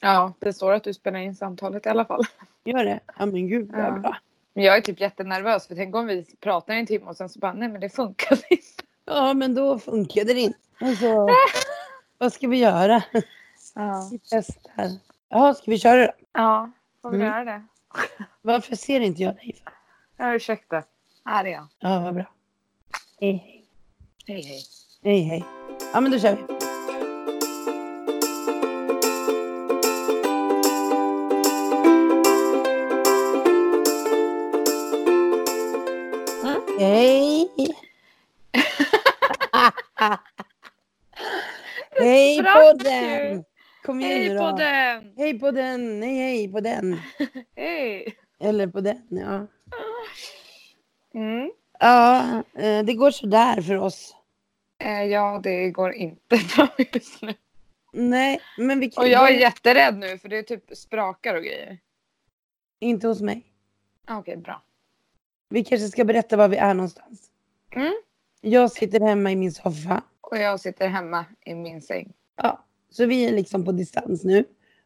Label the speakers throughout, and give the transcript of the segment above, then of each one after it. Speaker 1: Ja, det står att du spelar in samtalet i alla fall.
Speaker 2: Gör det? Ja men gud vad
Speaker 1: Ja.
Speaker 2: bra.
Speaker 1: Men jag är typ jättenervös för tänk om vi pratar i en timme och sen så bara nej men det funkar liksom. inte.
Speaker 2: Ja men då funkade det inte. Alltså, vad ska vi göra?
Speaker 1: Ja,
Speaker 2: Vi testar. Ja, ska vi köra då?
Speaker 1: ja får vi
Speaker 2: Mm.
Speaker 1: göra det?
Speaker 2: Varför ser inte jag dig? för?
Speaker 1: Ja, ursäkta. Här är jag.
Speaker 2: Ja, vad bra. Hej hej.
Speaker 1: Hej hej.
Speaker 2: Hej hej. Ja men då kör vi.
Speaker 1: Mm.
Speaker 2: Hej! hej
Speaker 1: sprack ju.
Speaker 2: podden! Kom igen
Speaker 1: Hej
Speaker 2: nu då.
Speaker 1: på den!
Speaker 2: Hej på den, hej hej på den.
Speaker 1: Hej!
Speaker 2: Eller på den, ja.
Speaker 1: Mm.
Speaker 2: Ja, eh, det går sådär för oss.
Speaker 1: Eh, ja, det går inte bra just nu.
Speaker 2: Nej, men vi kan
Speaker 1: Och jag är jätterädd nu för det är typ sprakar och grejer.
Speaker 2: Inte hos mig.
Speaker 1: Ah, Okej, bra.
Speaker 2: Vi kanske ska berätta var vi är någonstans.
Speaker 1: Mm.
Speaker 2: Jag sitter hemma i min soffa.
Speaker 1: Och jag sitter hemma i min säng.
Speaker 2: Ja, så vi är liksom på distans nu.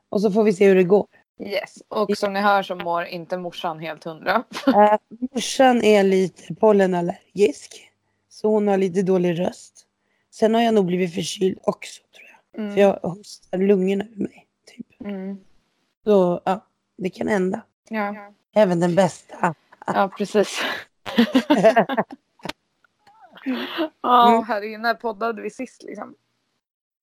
Speaker 2: Och så får vi se hur det går.
Speaker 1: Yes. Och som ni hör så mår inte morsan helt hundra.
Speaker 2: Eh, morsan är lite pollenallergisk. Så hon har lite dålig röst. Sen har jag nog blivit förkyld också tror jag. För
Speaker 1: Mm.
Speaker 2: jag hostar lungorna ur mig. Typ.
Speaker 1: Mm.
Speaker 2: Så ja, det kan hända.
Speaker 1: Ja.
Speaker 2: Även den bästa.
Speaker 1: ja, precis. Ja,
Speaker 2: Mm.
Speaker 1: här inne poddade vi sist liksom.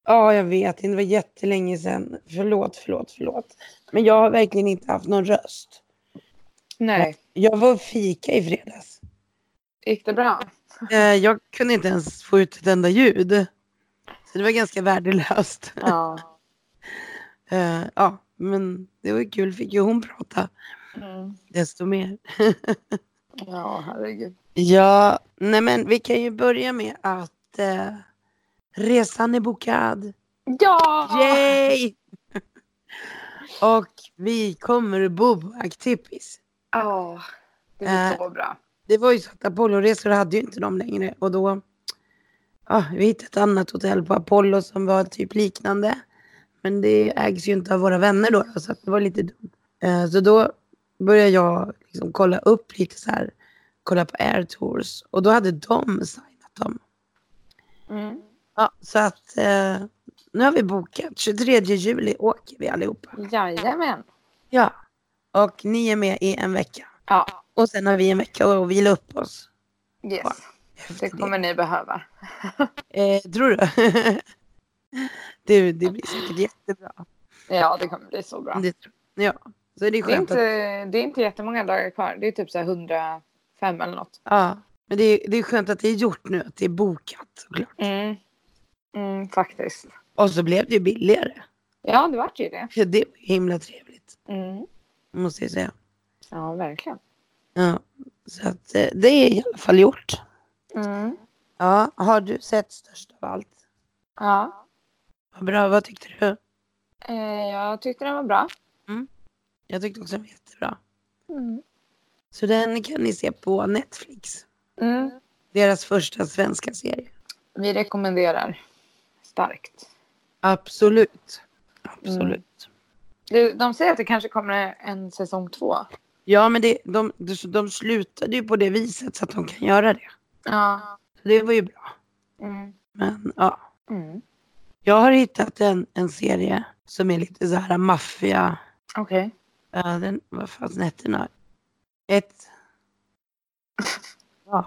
Speaker 2: Ja, jag vet. Det var jättelänge sedan. Förlåt, förlåt, förlåt. Men jag har verkligen inte haft någon röst.
Speaker 1: Nej.
Speaker 2: Jag var och fika i fredags.
Speaker 1: Gick det bra?
Speaker 2: Eh, Jag kunde inte ens få ut ett enda ljud. Så det var ganska värdelöst.
Speaker 1: Ja.
Speaker 2: Eh, Ja, men det var ju kul. Fick ju hon prata
Speaker 1: Mm.
Speaker 2: desto mer.
Speaker 1: Ja, herregud.
Speaker 2: Ja, nej men vi kan ju börja med att eh, resan är bokad.
Speaker 1: Ja!
Speaker 2: Yay! Och vi kommer att bo på Aktippis.
Speaker 1: Ja, det är så bra.
Speaker 2: Det var ju så att Apolloresor hade ju inte de längre och då ja, vi hittade ett annat hotell på Apollo som var typ liknande. Men det ägs ju inte av våra vänner då, så att det var lite dumt. Eh, så då började jag liksom kolla upp lite så här, kolla på air tours och då hade de signat dem.
Speaker 1: Mm.
Speaker 2: Ja, så att eh, nu har vi bokat, 23 juli åker vi allihopa.
Speaker 1: Jajamän.
Speaker 2: Ja, och ni är med i en vecka.
Speaker 1: Ja,
Speaker 2: Och sen har vi en vecka att vila upp oss.
Speaker 1: yes.
Speaker 2: efter
Speaker 1: Det kommer ni behöva.
Speaker 2: Eh, tror du? du, det blir säkert jättebra.
Speaker 1: Ja, det kommer bli så bra.
Speaker 2: Det, tror- ja, så det är
Speaker 1: Det är,
Speaker 2: skönt
Speaker 1: inte,
Speaker 2: att,
Speaker 1: det är inte jättemånga dagar kvar. Det är typ så här 105 eller något.
Speaker 2: ja, men det är, det är skönt att det är gjort nu, att det är bokat såklart.
Speaker 1: Mm. Mm, faktiskt.
Speaker 2: Och så blev det ju billigare.
Speaker 1: Ja, det vart ju det.
Speaker 2: Så det var ju himla trevligt,
Speaker 1: Mm.
Speaker 2: måste jag säga.
Speaker 1: Ja, verkligen.
Speaker 2: Ja, så att eh, det är i alla fall gjort.
Speaker 1: Mm.
Speaker 2: Ja, har du sett Störst av allt?
Speaker 1: Ja,
Speaker 2: Vad bra, vad tyckte du?
Speaker 1: eh, jag tyckte den var bra.
Speaker 2: Jag tyckte också den var jättebra.
Speaker 1: Mm.
Speaker 2: Så den kan ni se på Netflix.
Speaker 1: Mm.
Speaker 2: Deras första svenska serie.
Speaker 1: Vi rekommenderar starkt.
Speaker 2: Absolut. Absolut.
Speaker 1: Du, De säger att det kanske kommer en säsong två.
Speaker 2: Ja, men det, de, de, de slutade ju på det viset så att de kan göra det.
Speaker 1: Ja.
Speaker 2: Så det var ju bra.
Speaker 1: Mm.
Speaker 2: Men ja,
Speaker 1: Mm.
Speaker 2: jag har hittat en, en serie som är lite så här maffia.
Speaker 1: Okej.
Speaker 2: eh, den, vad fasen hette den? här? Ett... Ja.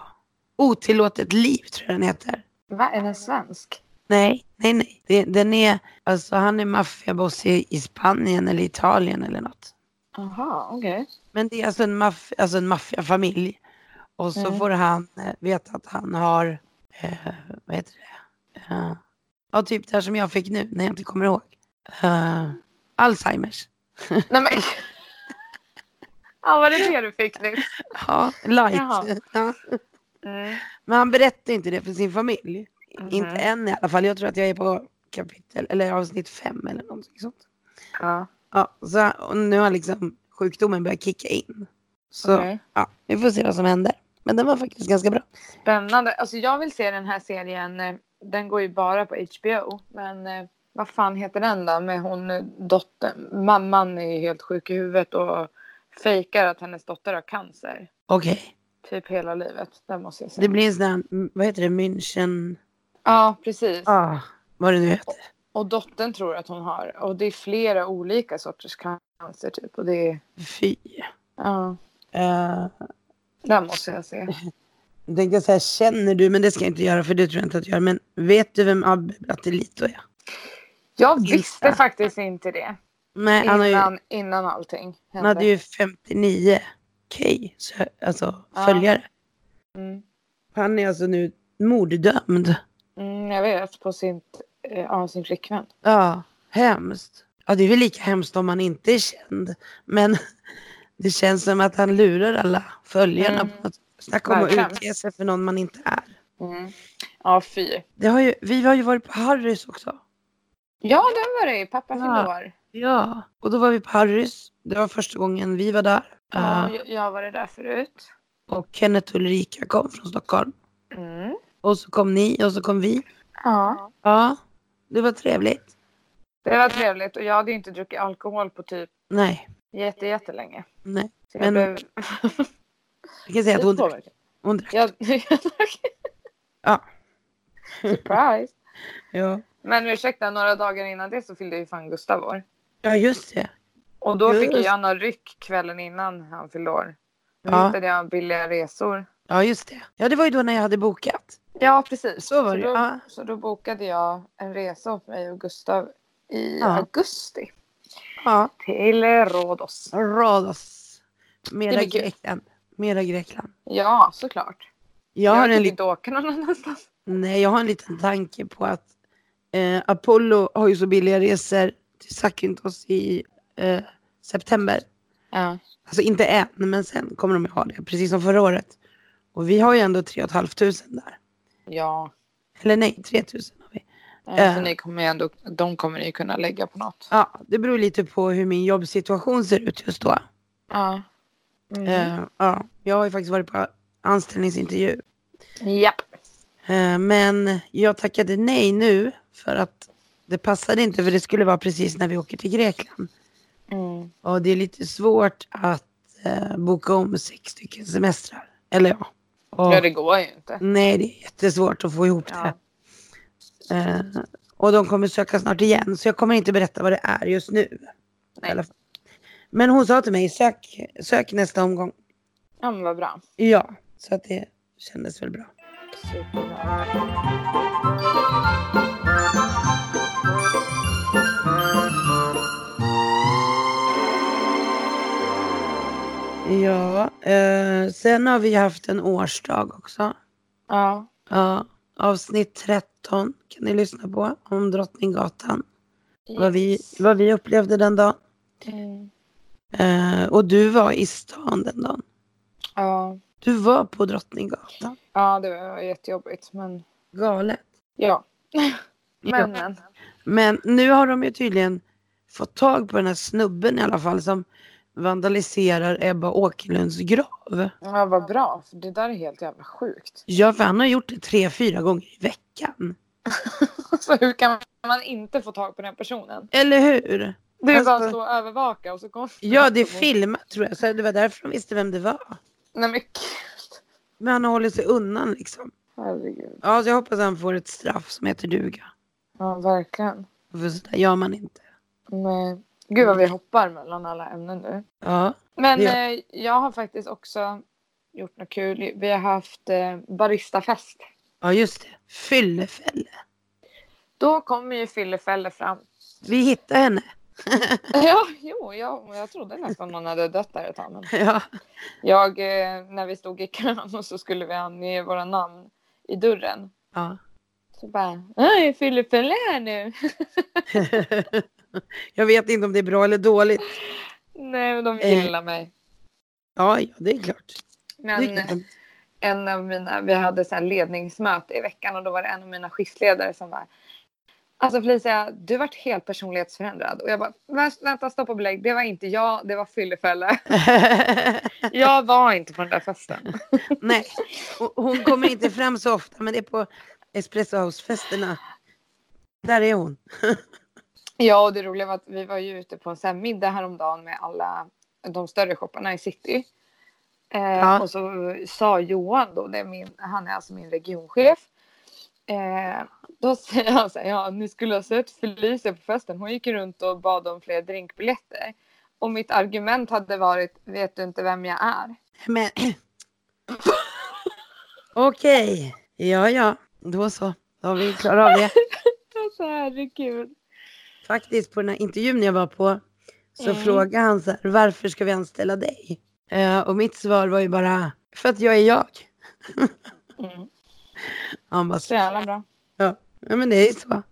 Speaker 2: Otillåtet liv tror jag den heter.
Speaker 1: Va, är den svensk?
Speaker 2: Nej, nej, nej. Det, den är, alltså han är maffiaboss i, i Spanien eller Italien eller något.
Speaker 1: Jaha, okej.
Speaker 2: Men det är alltså en, maff alltså en maffiafamilj. Och så
Speaker 1: Mm.
Speaker 2: får han eh, veta att han har, eh, vad heter det? Eh, ja, typ det här som jag fick nu när jag inte kommer ihåg. Eh, Alzheimers.
Speaker 1: Nej men. Ja, var det det du fick nyss?
Speaker 2: Ja, light.
Speaker 1: Jaha.
Speaker 2: Ja.
Speaker 1: Mm.
Speaker 2: Men han berättar inte det för sin familj.
Speaker 1: Mhm.
Speaker 2: Inte än i alla fall. Jag tror att jag är på kapitel, eller avsnitt fem eller någonting sånt.
Speaker 1: Ja.
Speaker 2: Ja, så och nu har liksom sjukdomen börjat kicka in. Så
Speaker 1: okej.
Speaker 2: ja, vi får se vad som händer. Men den var faktiskt ganska bra.
Speaker 1: Spännande. Alltså jag vill se den här serien. eh, Den går ju bara på HBO. Men eh, vad fan heter den då? Med hon eh, dottern. Mamman är ju helt sjuk i huvudet och fejkar att hennes dotter har cancer.
Speaker 2: Okej.
Speaker 1: Typ hela livet. Den måste jag se.
Speaker 2: Det blir en sån här, m- vad heter det, München...
Speaker 1: Ja, precis.
Speaker 2: Ah, vad det nu heter.
Speaker 1: Och dottern tror att hon har. Och det är flera olika sorters cancer typ. Och det är...
Speaker 2: Fy.
Speaker 1: Ja,
Speaker 2: Uh,
Speaker 1: den måste jag se.
Speaker 2: tänkte jag säga, känner du, men det ska jag inte göra för det tror jag inte att jag gör. Men vet du vem Abbe Brattelito är?
Speaker 1: Jag visste
Speaker 2: Gissa.
Speaker 1: faktiskt inte det.
Speaker 2: Nej, han, har ju,
Speaker 1: Innan, innan allting
Speaker 2: han
Speaker 1: hände.
Speaker 2: hade ju 59k så, alltså,
Speaker 1: Ja.
Speaker 2: följare.
Speaker 1: Ah. Mm.
Speaker 2: Han är alltså nu morddömd.
Speaker 1: Mm, jag vet, på sin, eh, av sin flickvän.
Speaker 2: Ja, hemskt. Ja, det är väl lika hemskt om man inte är känd. Men det känns som att han lurar alla följarna.
Speaker 1: Mm.
Speaker 2: På något. Snacka om att
Speaker 1: Verkligen.
Speaker 2: utge sig för någon man inte är.
Speaker 1: Mm. Ja, fy.
Speaker 2: Det har ju, vi har ju varit på Harrys också.
Speaker 1: Ja, den var det ju. Pappa fyllde
Speaker 2: Ja.
Speaker 1: år.
Speaker 2: Ja. Och då var vi på Harrys. Det var första gången vi var där.
Speaker 1: Ja,
Speaker 2: Eh,
Speaker 1: jag- jag var det där förut.
Speaker 2: och Kenneth och Ulrika kom från Stockholm.
Speaker 1: Mm.
Speaker 2: Och så kom ni och så kom vi.
Speaker 1: Ja.
Speaker 2: Ja, det var trevligt.
Speaker 1: Det var trevligt. Och jag hade ju inte druckit alkohol på typ
Speaker 2: Nej,
Speaker 1: jätte, jättelänge.
Speaker 2: nej.
Speaker 1: Så jag
Speaker 2: Men-
Speaker 1: blev
Speaker 2: Jag kan säga att hon,
Speaker 1: lite
Speaker 2: drack-
Speaker 1: påverkad.
Speaker 2: hon drack.
Speaker 1: Jag, jag drack.
Speaker 2: Ja.
Speaker 1: Surprise.
Speaker 2: Ja.
Speaker 1: Men ursäkta, några dagar innan det så fyllde ju fan Gustav år.
Speaker 2: ja, just det.
Speaker 1: Och då fick
Speaker 2: Just.
Speaker 1: jag några ryck kvällen innan han fyllde år. Då
Speaker 2: Ja.
Speaker 1: hittade jag billiga resor.
Speaker 2: Ja, just det. Ja, det var ju då när jag hade bokat.
Speaker 1: Ja, precis.
Speaker 2: Så var det ju,
Speaker 1: då,
Speaker 2: ja.
Speaker 1: så då bokade jag en resa åt mig och Gustav i
Speaker 2: Ja.
Speaker 1: augusti
Speaker 2: Ja.
Speaker 1: till Rhodos.
Speaker 2: Rhodos.
Speaker 1: Det
Speaker 2: Mera
Speaker 1: blir kul.
Speaker 2: Grekland. Mera Grekland.
Speaker 1: Ja, såklart.
Speaker 2: Jag
Speaker 1: jag
Speaker 2: har, en
Speaker 1: kunde
Speaker 2: lit-
Speaker 1: inte åka någon annanstans.
Speaker 2: nej, jag har en liten tanke på att eh, Apollo har ju så billiga resor till Zakynthos i eh, september.
Speaker 1: Ja.
Speaker 2: Alltså inte än, men sen kommer de ju ha det. Precis som förra året. Och vi har ju ändå 3 500 där.
Speaker 1: Ja.
Speaker 2: Eller nej, 3000 har vi.
Speaker 1: Alltså,
Speaker 2: Eh.
Speaker 1: ni kommer ju ändå, de kommer ni ju kunna lägga på något.
Speaker 2: Ja, det beror lite på hur min jobbsituation ser ut just då.
Speaker 1: Ja. Mm.
Speaker 2: Eh, ja, jag har ju faktiskt varit på anställningsintervju.
Speaker 1: Japp.
Speaker 2: Eh, Men jag tackade nej nu för att det passade inte för det skulle vara precis när vi åker till Grekland.
Speaker 1: Mm.
Speaker 2: Och det är lite svårt att eh, boka om sex stycken semestrar. Eller ja. Och,
Speaker 1: Ja, det går ju inte.
Speaker 2: Nej, det är jättesvårt att få ihop
Speaker 1: Ja.
Speaker 2: det. Eh, och de kommer söka snart igen så jag kommer inte berätta vad det är just nu.
Speaker 1: Nej.
Speaker 2: I alla fall. Men hon sa till mig, sök, sök nästa omgång.
Speaker 1: Ja, men vad bra.
Speaker 2: Ja, så att det kändes väl bra.
Speaker 1: Superbra.
Speaker 2: Ja, eh, sen har vi haft en årsdag också.
Speaker 1: Ja.
Speaker 2: Ja, avsnitt 13 kan ni lyssna på om Drottninggatan. Vad, vi,
Speaker 1: Yes.
Speaker 2: vad vi upplevde den dagen.
Speaker 1: Mm.
Speaker 2: Eh, och du var i stan den dagen.
Speaker 1: Ja.
Speaker 2: Du var på Drottninggatan.
Speaker 1: ja, det var jättejobbigt. Men
Speaker 2: Galet.
Speaker 1: ja.
Speaker 2: Ja.
Speaker 1: Men, men.
Speaker 2: Men nu har de ju tydligen fått tag på den här snubben i alla fall som vandaliserar Ebba Åkerlunds grav.
Speaker 1: Ja, vad bra. För det där är helt jävla sjukt.
Speaker 2: Ja, för han har gjort det tre, fyra gånger i veckan.
Speaker 1: Så Alltså, hur kan man inte få tag på den personen?
Speaker 2: Eller hur?
Speaker 1: Det är bara
Speaker 2: Alltså-
Speaker 1: att stå och övervaka och så kommer...
Speaker 2: Ja, det är filmat tror jag, så det var därför de visste vem det var.
Speaker 1: Nej men gud.
Speaker 2: Men han har hållit sig undan liksom.
Speaker 1: Herregud.
Speaker 2: Ja, så jag hoppas han får ett straff som heter duga.
Speaker 1: Ja, verkligen.
Speaker 2: För sådär gör man inte.
Speaker 1: Men, gud vad vi hoppar mellan alla ämnen nu.
Speaker 2: Ja,
Speaker 1: Men
Speaker 2: Ja.
Speaker 1: eh, jag har faktiskt också gjort något kul. Vi har haft eh, baristafest.
Speaker 2: ja just det. Fyllefälle.
Speaker 1: Då kommer ju Fillefelle fram.
Speaker 2: Vi hittade henne.
Speaker 1: Ja, jo, jag, jag trodde nästan någon hade dött där ett tag. Men
Speaker 2: Ja,
Speaker 1: jag, eh, när vi stod i kön och så skulle vi ange våra namn i dörren.
Speaker 2: ja.
Speaker 1: Så bara, nej, Fillefelle är här nu.
Speaker 2: Jag vet inte om det är bra eller dåligt.
Speaker 1: Nej, men de
Speaker 2: Eh.
Speaker 1: gillar mig.
Speaker 2: Ja, ja det är klart. Det
Speaker 1: Men
Speaker 2: är klart.
Speaker 1: en av mina, vi hade så här ledningsmöte i veckan och då var det en av mina skiftledare som var Alltså Felicia, du vart helt personlighetsförändrad. Och jag bara, "Vä- vänta stopp och belägg, det var inte jag, det var fyllefälle. Jag var inte på den där festen.
Speaker 2: Nej, och hon kommer inte fram så ofta men det är på Espresso House-festerna. Där är hon.
Speaker 1: Ja, och det roliga var att vi var ju ute på en sån här middag häromdagen med alla de större shopparna i city. Eh,
Speaker 2: Ja.
Speaker 1: Och så sa Johan då, det är min, han är alltså min regionchef. Eh, då säger han så här, ja ni skulle ha sett Felicia på festen, hon gick runt och bad om fler drinkbiljetter. Och mitt argument hade varit, vet du inte vem jag är?
Speaker 2: Men... Okej. Ja, ja. Då så. Då har vi klarat av det.
Speaker 1: Alltså herregud.
Speaker 2: Faktiskt på den här intervjun jag var på så
Speaker 1: Mm.
Speaker 2: frågade han så här, varför ska vi anställa dig? Eh, och mitt svar var ju bara, för att jag är jag.
Speaker 1: Mm.
Speaker 2: Han bara,
Speaker 1: Så jävla bra.
Speaker 2: ja. ja men det är ju så.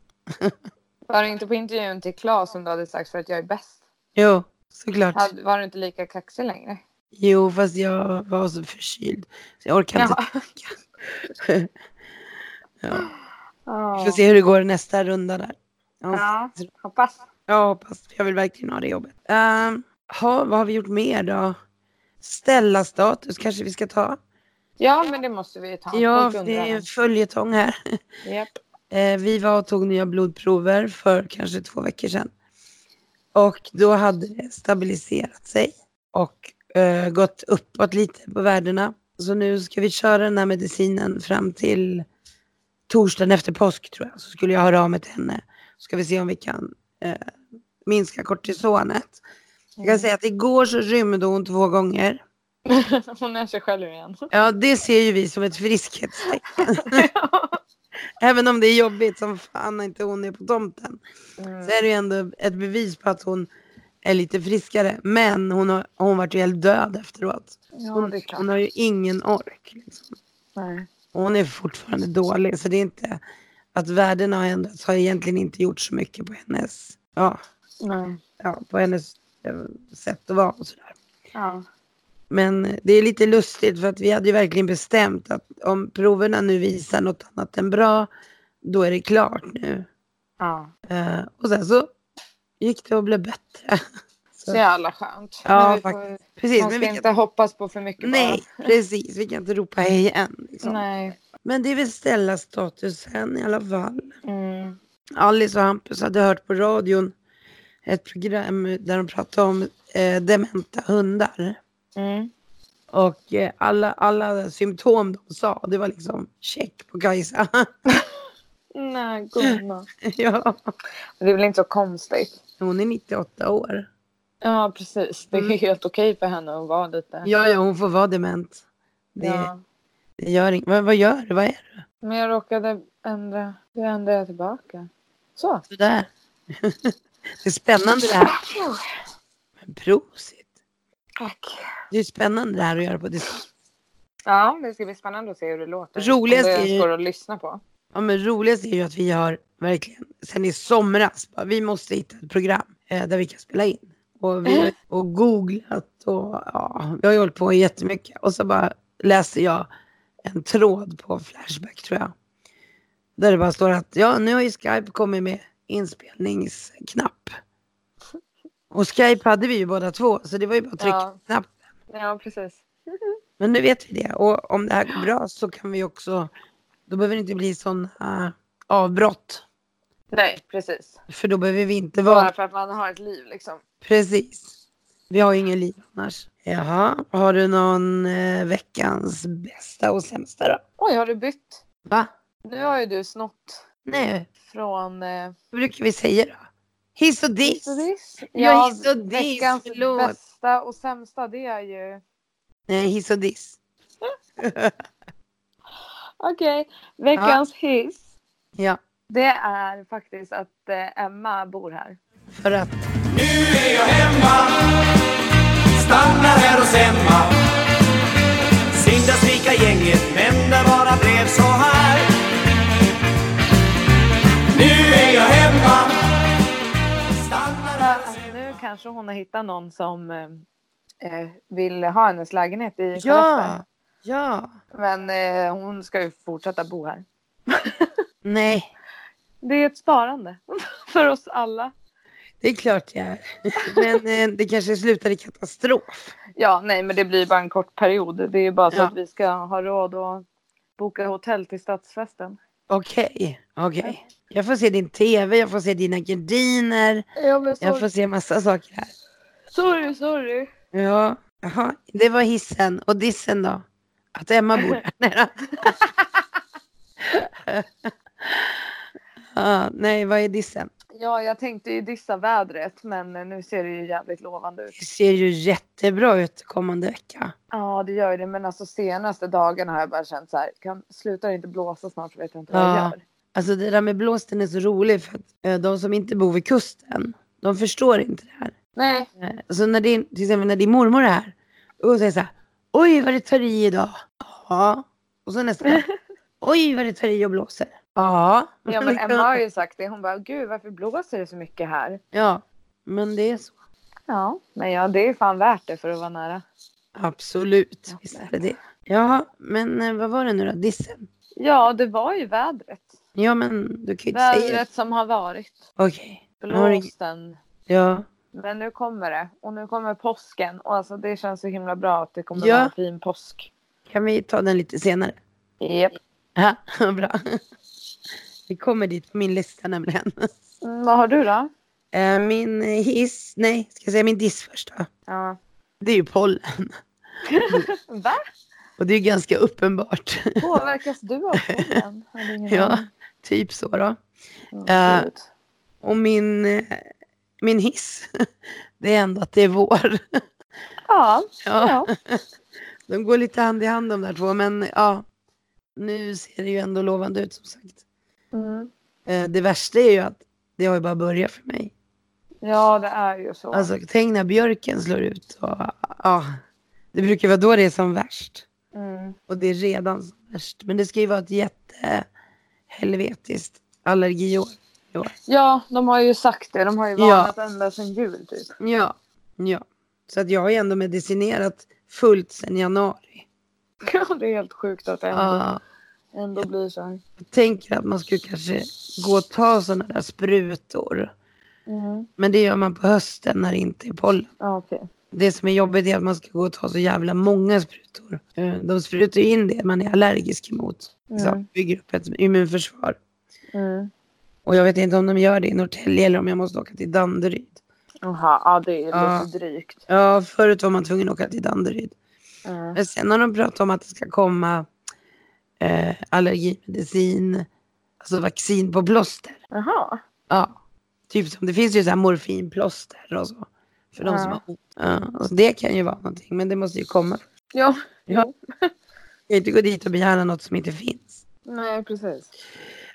Speaker 1: Var det inte på intervjun till Claes som du hade sagt för att jag är bäst?
Speaker 2: Jo, såklart.
Speaker 1: Hade- Var du inte lika kaxig längre?
Speaker 2: Jo, fast jag var så förkyld. Så jag orkar inte.
Speaker 1: Jaha.
Speaker 2: Ja. Vi
Speaker 1: Ja.
Speaker 2: får se hur det går i nästa runda där. Ja,
Speaker 1: Ja, hoppas.
Speaker 2: Jag hoppas, jag vill verkligen ha det jobbet. Ehm, ha, vad har vi gjort mer då? Ställa status kanske vi ska ta.
Speaker 1: Ja, men det måste vi ju ta.
Speaker 2: Ja,
Speaker 1: Folk
Speaker 2: det
Speaker 1: undrar
Speaker 2: är en
Speaker 1: här.
Speaker 2: följetong här.
Speaker 1: Japp.
Speaker 2: Eh, vi var och tog nya blodprover för kanske två veckor sedan. Och då hade det stabiliserat sig och eh, gått uppåt lite på värdena. Så nu ska vi köra den här medicinen fram till torsdagen efter påsk tror jag. Så skulle jag höra av mig till henne. Så ska vi se om vi kan eh, minska kortisonet. Jag kan säga att igår så rymde hon två gånger.
Speaker 1: Hon är sig själv igen.
Speaker 2: Ja, det ser ju vi som ett friskhetstecken. Även om det är jobbigt som fan när inte hon är på tomten.
Speaker 1: Mm.
Speaker 2: Så är det ju ändå ett bevis på att hon är lite friskare. Men hon har hon varit ju helt död efteråt.
Speaker 1: Ja,
Speaker 2: Hon,
Speaker 1: det är klart.
Speaker 2: hon har ju ingen ork. Liksom.
Speaker 1: Nej.
Speaker 2: Och hon är fortfarande dålig. Så det är inte att värdena har ändrats har egentligen inte gjort så mycket på hennes, ja,
Speaker 1: Nej.
Speaker 2: ja, på hennes eh, sätt att vara och sådär.
Speaker 1: Ja.
Speaker 2: Men det är lite lustigt för att vi hade ju verkligen bestämt att om proverna nu visar något annat än bra, då är det klart nu.
Speaker 1: ja.
Speaker 2: Eh, och sen så gick det och blev bättre.
Speaker 1: Så jävla skönt.
Speaker 2: Ja,
Speaker 1: Men vi får-
Speaker 2: faktiskt. Precis,
Speaker 1: Man
Speaker 2: men
Speaker 1: ska
Speaker 2: vi kan,
Speaker 1: inte hoppas på för mycket
Speaker 2: nej, precis, vi kan inte ropa hej än.
Speaker 1: bara.
Speaker 2: Liksom.
Speaker 1: Nej.
Speaker 2: Men det är väl ställa statusen i alla fall.
Speaker 1: Mm.
Speaker 2: Alice och Hampus hade hört på radion ett program där de pratade om eh, dementa hundar.
Speaker 1: Mm.
Speaker 2: Och eh, alla, alla symptom de sa, det var liksom check på Kajsa.
Speaker 1: Nej,
Speaker 2: Mm.
Speaker 1: gumman.
Speaker 2: ja.
Speaker 1: Det är väl inte så konstigt.
Speaker 2: Hon är 98 år.
Speaker 1: Ja, precis. Det är
Speaker 2: Mm.
Speaker 1: helt okej för henne att vara lite...
Speaker 2: Ja, ja, hon får vara dement. Det,
Speaker 1: Ja.
Speaker 2: det gör inget. Vad, vad gör du? Vad är du?
Speaker 1: Men jag råkade ändra. Jag ändrade tillbaka. Så.
Speaker 2: Sådär. det är spännande det här. Men prosit.
Speaker 1: Tack.
Speaker 2: Det är spännande det här att göra på distans.
Speaker 1: Ja, det ska bli spännande att se hur det låter.
Speaker 2: Roligast
Speaker 1: Om det
Speaker 2: är ju-
Speaker 1: ens går att lyssna på.
Speaker 2: Ja, men roligast är ju att vi har verkligen, sen i somras, bara, vi måste hitta ett program eh, där vi kan spela in. Och vi har och googlat och ja, vi har ju hållit på jättemycket. Och så bara läste jag en tråd på Flashback tror jag. Där det bara står att ja, nu har ju Skype kommit med inspelningsknapp. Och Skype hade vi ju båda två, så det var ju bara att trycka
Speaker 1: Ja.
Speaker 2: på knappen.
Speaker 1: Ja, precis.
Speaker 2: Men nu vet vi det. Och om det här går bra så kan vi också... Då behöver det inte bli sådana avbrott.
Speaker 1: Nej, precis.
Speaker 2: För då behöver vi inte
Speaker 1: Bara
Speaker 2: vara...
Speaker 1: för att man har ett liv liksom.
Speaker 2: Precis. Vi har ju ingen liv annars. Jaha, har du någon eh, veckans bästa och sämsta då?
Speaker 1: Oj, har du bytt?
Speaker 2: Va?
Speaker 1: Nu har ju du snott
Speaker 2: Nej,
Speaker 1: från... Eh,
Speaker 2: vad brukar vi säga då? Hiss och diss.
Speaker 1: Sodis.
Speaker 2: Ja, hiss och diss,
Speaker 1: veckans
Speaker 2: förlåt.
Speaker 1: bästa och sämsta det är ju...
Speaker 2: Nej, hiss och diss.
Speaker 1: Okej, veckans hiss.
Speaker 2: Ja,
Speaker 1: Det är faktiskt att eh, Emma bor här.
Speaker 2: för att...
Speaker 3: Nu är jag hemma Stannar här hos Emma Sida svika gänget Men det bara blev så här Nu är jag hemma Stannar här hos
Speaker 1: Alltså, nu kanske hon har hittat någon som eh, eh, vill ha hennes lägenhet i
Speaker 2: Ja! Ja!
Speaker 1: Men eh, hon ska ju fortsätta bo här.
Speaker 2: Nej,
Speaker 1: Det är ett sparande för oss alla.
Speaker 2: det är klart jag är. Men eh, det kanske slutar i katastrof.
Speaker 1: Ja, nej, men det blir bara en kort period. Det är ju bara så
Speaker 2: Ja.
Speaker 1: att vi ska ha råd att boka hotell till stadsfesten.
Speaker 2: Okej, okej. Jag får se din tv, jag får se dina gardiner,
Speaker 1: Ja, men sorry.
Speaker 2: jag får se massa saker här.
Speaker 1: sorry, sorry.
Speaker 2: Ja, jaha. Det var hissen. Och dissen då? Att Emma bor där nere. ja, nej, vad är dissen?
Speaker 1: Ja, jag tänkte ju dissa vädret, men eh, nu ser det ju jävligt lovande ut.
Speaker 2: Det ser ju jättebra ut kommande vecka.
Speaker 1: Ja, det gör ju det. Men alltså senaste dagarna har jag bara känt så här. Kan, slutar det inte blåsa snart så vet jag inte vad jag
Speaker 2: Ja.
Speaker 1: gör.
Speaker 2: Alltså det där med blåsten är så rolig för att eh, de som inte bor vid kusten, de förstår inte det här.
Speaker 1: Nej.
Speaker 2: Eh, Så när din, till exempel när din mormor är här, då säger jag så här, oj vad det tar i idag. Ja. Och så nästa, oj vad det tar i och blåser. Ja.
Speaker 1: Ja, men Emma har ju sagt det. Hon bara, gud varför blåser det så mycket här?
Speaker 2: Ja, men det är så.
Speaker 1: Ja, men ja, det är fan värt det för att vara nära.
Speaker 2: Absolut.
Speaker 1: Ja,
Speaker 2: Visst är det det. Ja, men eh, vad var det nu då? Dissen?
Speaker 1: Ja, det var ju vädret.
Speaker 2: Ja, men du kan ju inte säga det.
Speaker 1: Vädret som har varit.
Speaker 2: Okej. Ja, det-
Speaker 1: Blåsten.
Speaker 2: Ja.
Speaker 1: Men nu kommer det. Och nu kommer påsken. Och alltså det känns så himla bra att det kommer
Speaker 2: Ja.
Speaker 1: vara en fin påsk.
Speaker 2: Kan vi ta den lite senare?
Speaker 1: Japp.
Speaker 2: Ja, bra. Vi kommer dit på min lista nämligen.
Speaker 1: Mm, vad har du då?
Speaker 2: Eh, Min hiss, nej, ska jag säga min diss först då?
Speaker 1: Ja.
Speaker 2: Det är ju pollen.
Speaker 1: Va?
Speaker 2: Och det är ju ganska uppenbart.
Speaker 1: Påverkas du av pollen? Jag hade ingen
Speaker 2: Ja,
Speaker 1: aning.
Speaker 2: typ så då.
Speaker 1: Mm,
Speaker 2: eh,
Speaker 1: gud.
Speaker 2: Och min, eh, min hiss, det är ändå att det är vår.
Speaker 1: ja. ja.
Speaker 2: Ja. De går lite hand i hand de där två, men ja. Nu ser det ju ändå lovande ut som sagt.
Speaker 1: Mm.
Speaker 2: Eh, Det värsta är ju att det har ju bara börjat för mig.
Speaker 1: Ja, det är ju så.
Speaker 2: Alltså tänk när björken slår ut och ja. Det brukar vara då det är som värst.
Speaker 1: mm.
Speaker 2: Och det är redan som värst. Men det ska ju vara ett jättehelvetiskt allergiår.
Speaker 1: Ja, de har ju sagt det. De har ju
Speaker 2: Ja.
Speaker 1: varnat ända sedan jul typ.
Speaker 2: Ja, ja. Så att jag har ju ändå medicinerat fullt sedan januari.
Speaker 1: Ja, det är helt sjukt att det ändå,
Speaker 2: Ja.
Speaker 1: ändå blir så här.
Speaker 2: Jag tänker att man skulle kanske gå och ta sådana där sprutor.
Speaker 1: Mm.
Speaker 2: Men det gör man på hösten när det inte är pollen.
Speaker 1: Ja, okej.
Speaker 2: Det som är jobbigt är att man ska gå och ta så jävla många sprutor. Eh, De sprutar ju in det man är allergisk emot. Så
Speaker 1: Mm.
Speaker 2: bygger upp ett immunförsvar.
Speaker 1: Mm.
Speaker 2: Och jag vet inte om de gör det i Norrtälje eller om jag måste åka till Danderyd.
Speaker 1: Jaha, ja, det är ju
Speaker 2: Ja.
Speaker 1: lite drygt.
Speaker 2: Ja, förut var man tvungen att åka till Danderyd.
Speaker 1: Mm.
Speaker 2: Men sen har de pratat om att det ska komma eh, allergimedicin, alltså vaccin på plåster.
Speaker 1: Jaha.
Speaker 2: Ja. Typ som, det finns ju så här morfinplåster och så. För de
Speaker 1: Ja.
Speaker 2: som har ont. Ja, och så det kan ju vara någonting, men det måste ju komma.
Speaker 1: Ja.
Speaker 2: Ja. Jag kan inte gå dit och begära något som inte finns.
Speaker 1: Nej, precis.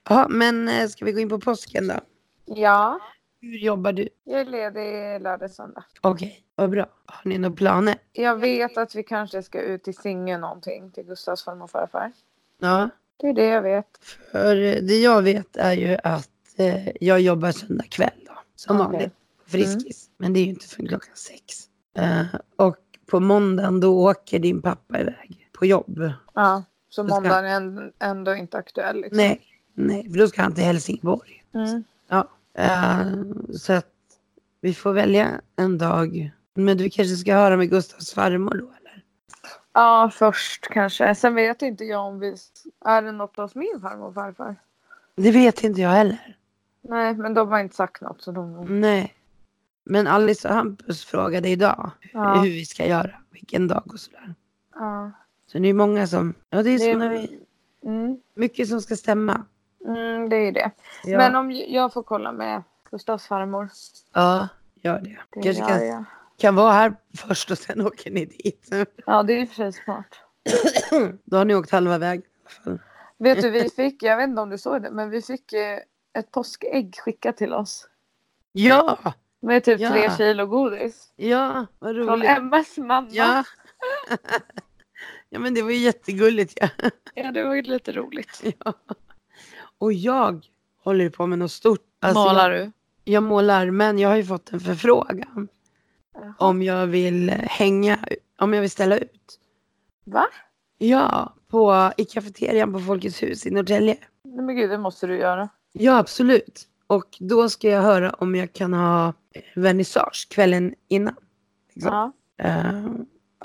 Speaker 2: Ja, men eh, ska vi gå in på påsken då?
Speaker 1: Ja,
Speaker 2: Hur jobbar du?
Speaker 1: jag är ledig lördag söndag.
Speaker 2: Okej, vad bra. Har ni några planer?
Speaker 1: Jag vet att vi kanske ska ut till Singö någonting till Gustavs farmor och farfar.
Speaker 2: Ja,
Speaker 1: Det är det jag vet.
Speaker 2: för eh, det jag vet är ju att eh, jag jobbar söndag kväll då. Som
Speaker 1: Okej. Mm.
Speaker 2: vanligt. Friskis. Men det är ju inte förrän klockan sex. Eh, och på måndagen då åker din pappa iväg på jobb.
Speaker 1: Ja, så
Speaker 2: ska-
Speaker 1: måndagen är änd- ändå inte aktuell. Liksom.
Speaker 2: Nej, nej, för då ska han till Helsingborg.
Speaker 1: Mm.
Speaker 2: Eh, så att vi får välja en dag. Men du kanske ska höra med Gustavs farmor då eller?
Speaker 1: Ja, först kanske. Sen vet inte jag om vi... Är det något hos min farmor och farfar?
Speaker 2: Det vet inte jag heller.
Speaker 1: Nej, men de har inte sagt något. Så de...
Speaker 2: Nej. Men Alice och Hampus frågade idag
Speaker 1: Ja.
Speaker 2: hur vi ska göra, vilken dag och sådär.
Speaker 1: ja.
Speaker 2: Så det är många som, ja det är
Speaker 1: Det-
Speaker 2: som när vi,
Speaker 1: Mm.
Speaker 2: mycket som ska stämma.
Speaker 1: Mm, det är ju det.
Speaker 2: Ja,
Speaker 1: Men om j- jag får kolla med Gustavs farmor.
Speaker 2: ja gör det.
Speaker 1: Det
Speaker 2: Kanske
Speaker 1: gör
Speaker 2: kan,
Speaker 1: jag.
Speaker 2: kan vara här först och sen åker ni dit.
Speaker 1: Ja, det är ju i och för sig smart.
Speaker 2: Då har ni åkt halva vägen i alla fall.
Speaker 1: Vet du, vi fick, jag vet inte om du såg det, men vi fick eh, ett påskägg skickat till oss.
Speaker 2: Ja,
Speaker 1: Med typ
Speaker 2: Ja.
Speaker 1: tre kilo godis.
Speaker 2: ja, vad
Speaker 1: Från
Speaker 2: roligt.
Speaker 1: Emmas mamma.
Speaker 2: Ja. ja, men det var ju jättegulligt. Ja.
Speaker 1: Ja, det var ju lite roligt.
Speaker 2: Ja. Och jag håller ju på med något stort. Alltså,
Speaker 1: Målar
Speaker 2: Jag,
Speaker 1: du?
Speaker 2: jag målar, men jag har ju fått en förfrågan
Speaker 1: Jaha.
Speaker 2: om jag vill hänga, om jag vill ställa ut.
Speaker 1: Va?
Speaker 2: Ja, på, i kafeterian på Folkets hus i Norrtälje.
Speaker 1: Nej, men gud, det måste du göra.
Speaker 2: Ja, absolut. Och då ska jag höra om jag kan ha vernissage kvällen innan. Liksom.
Speaker 1: Ja.
Speaker 2: Eh,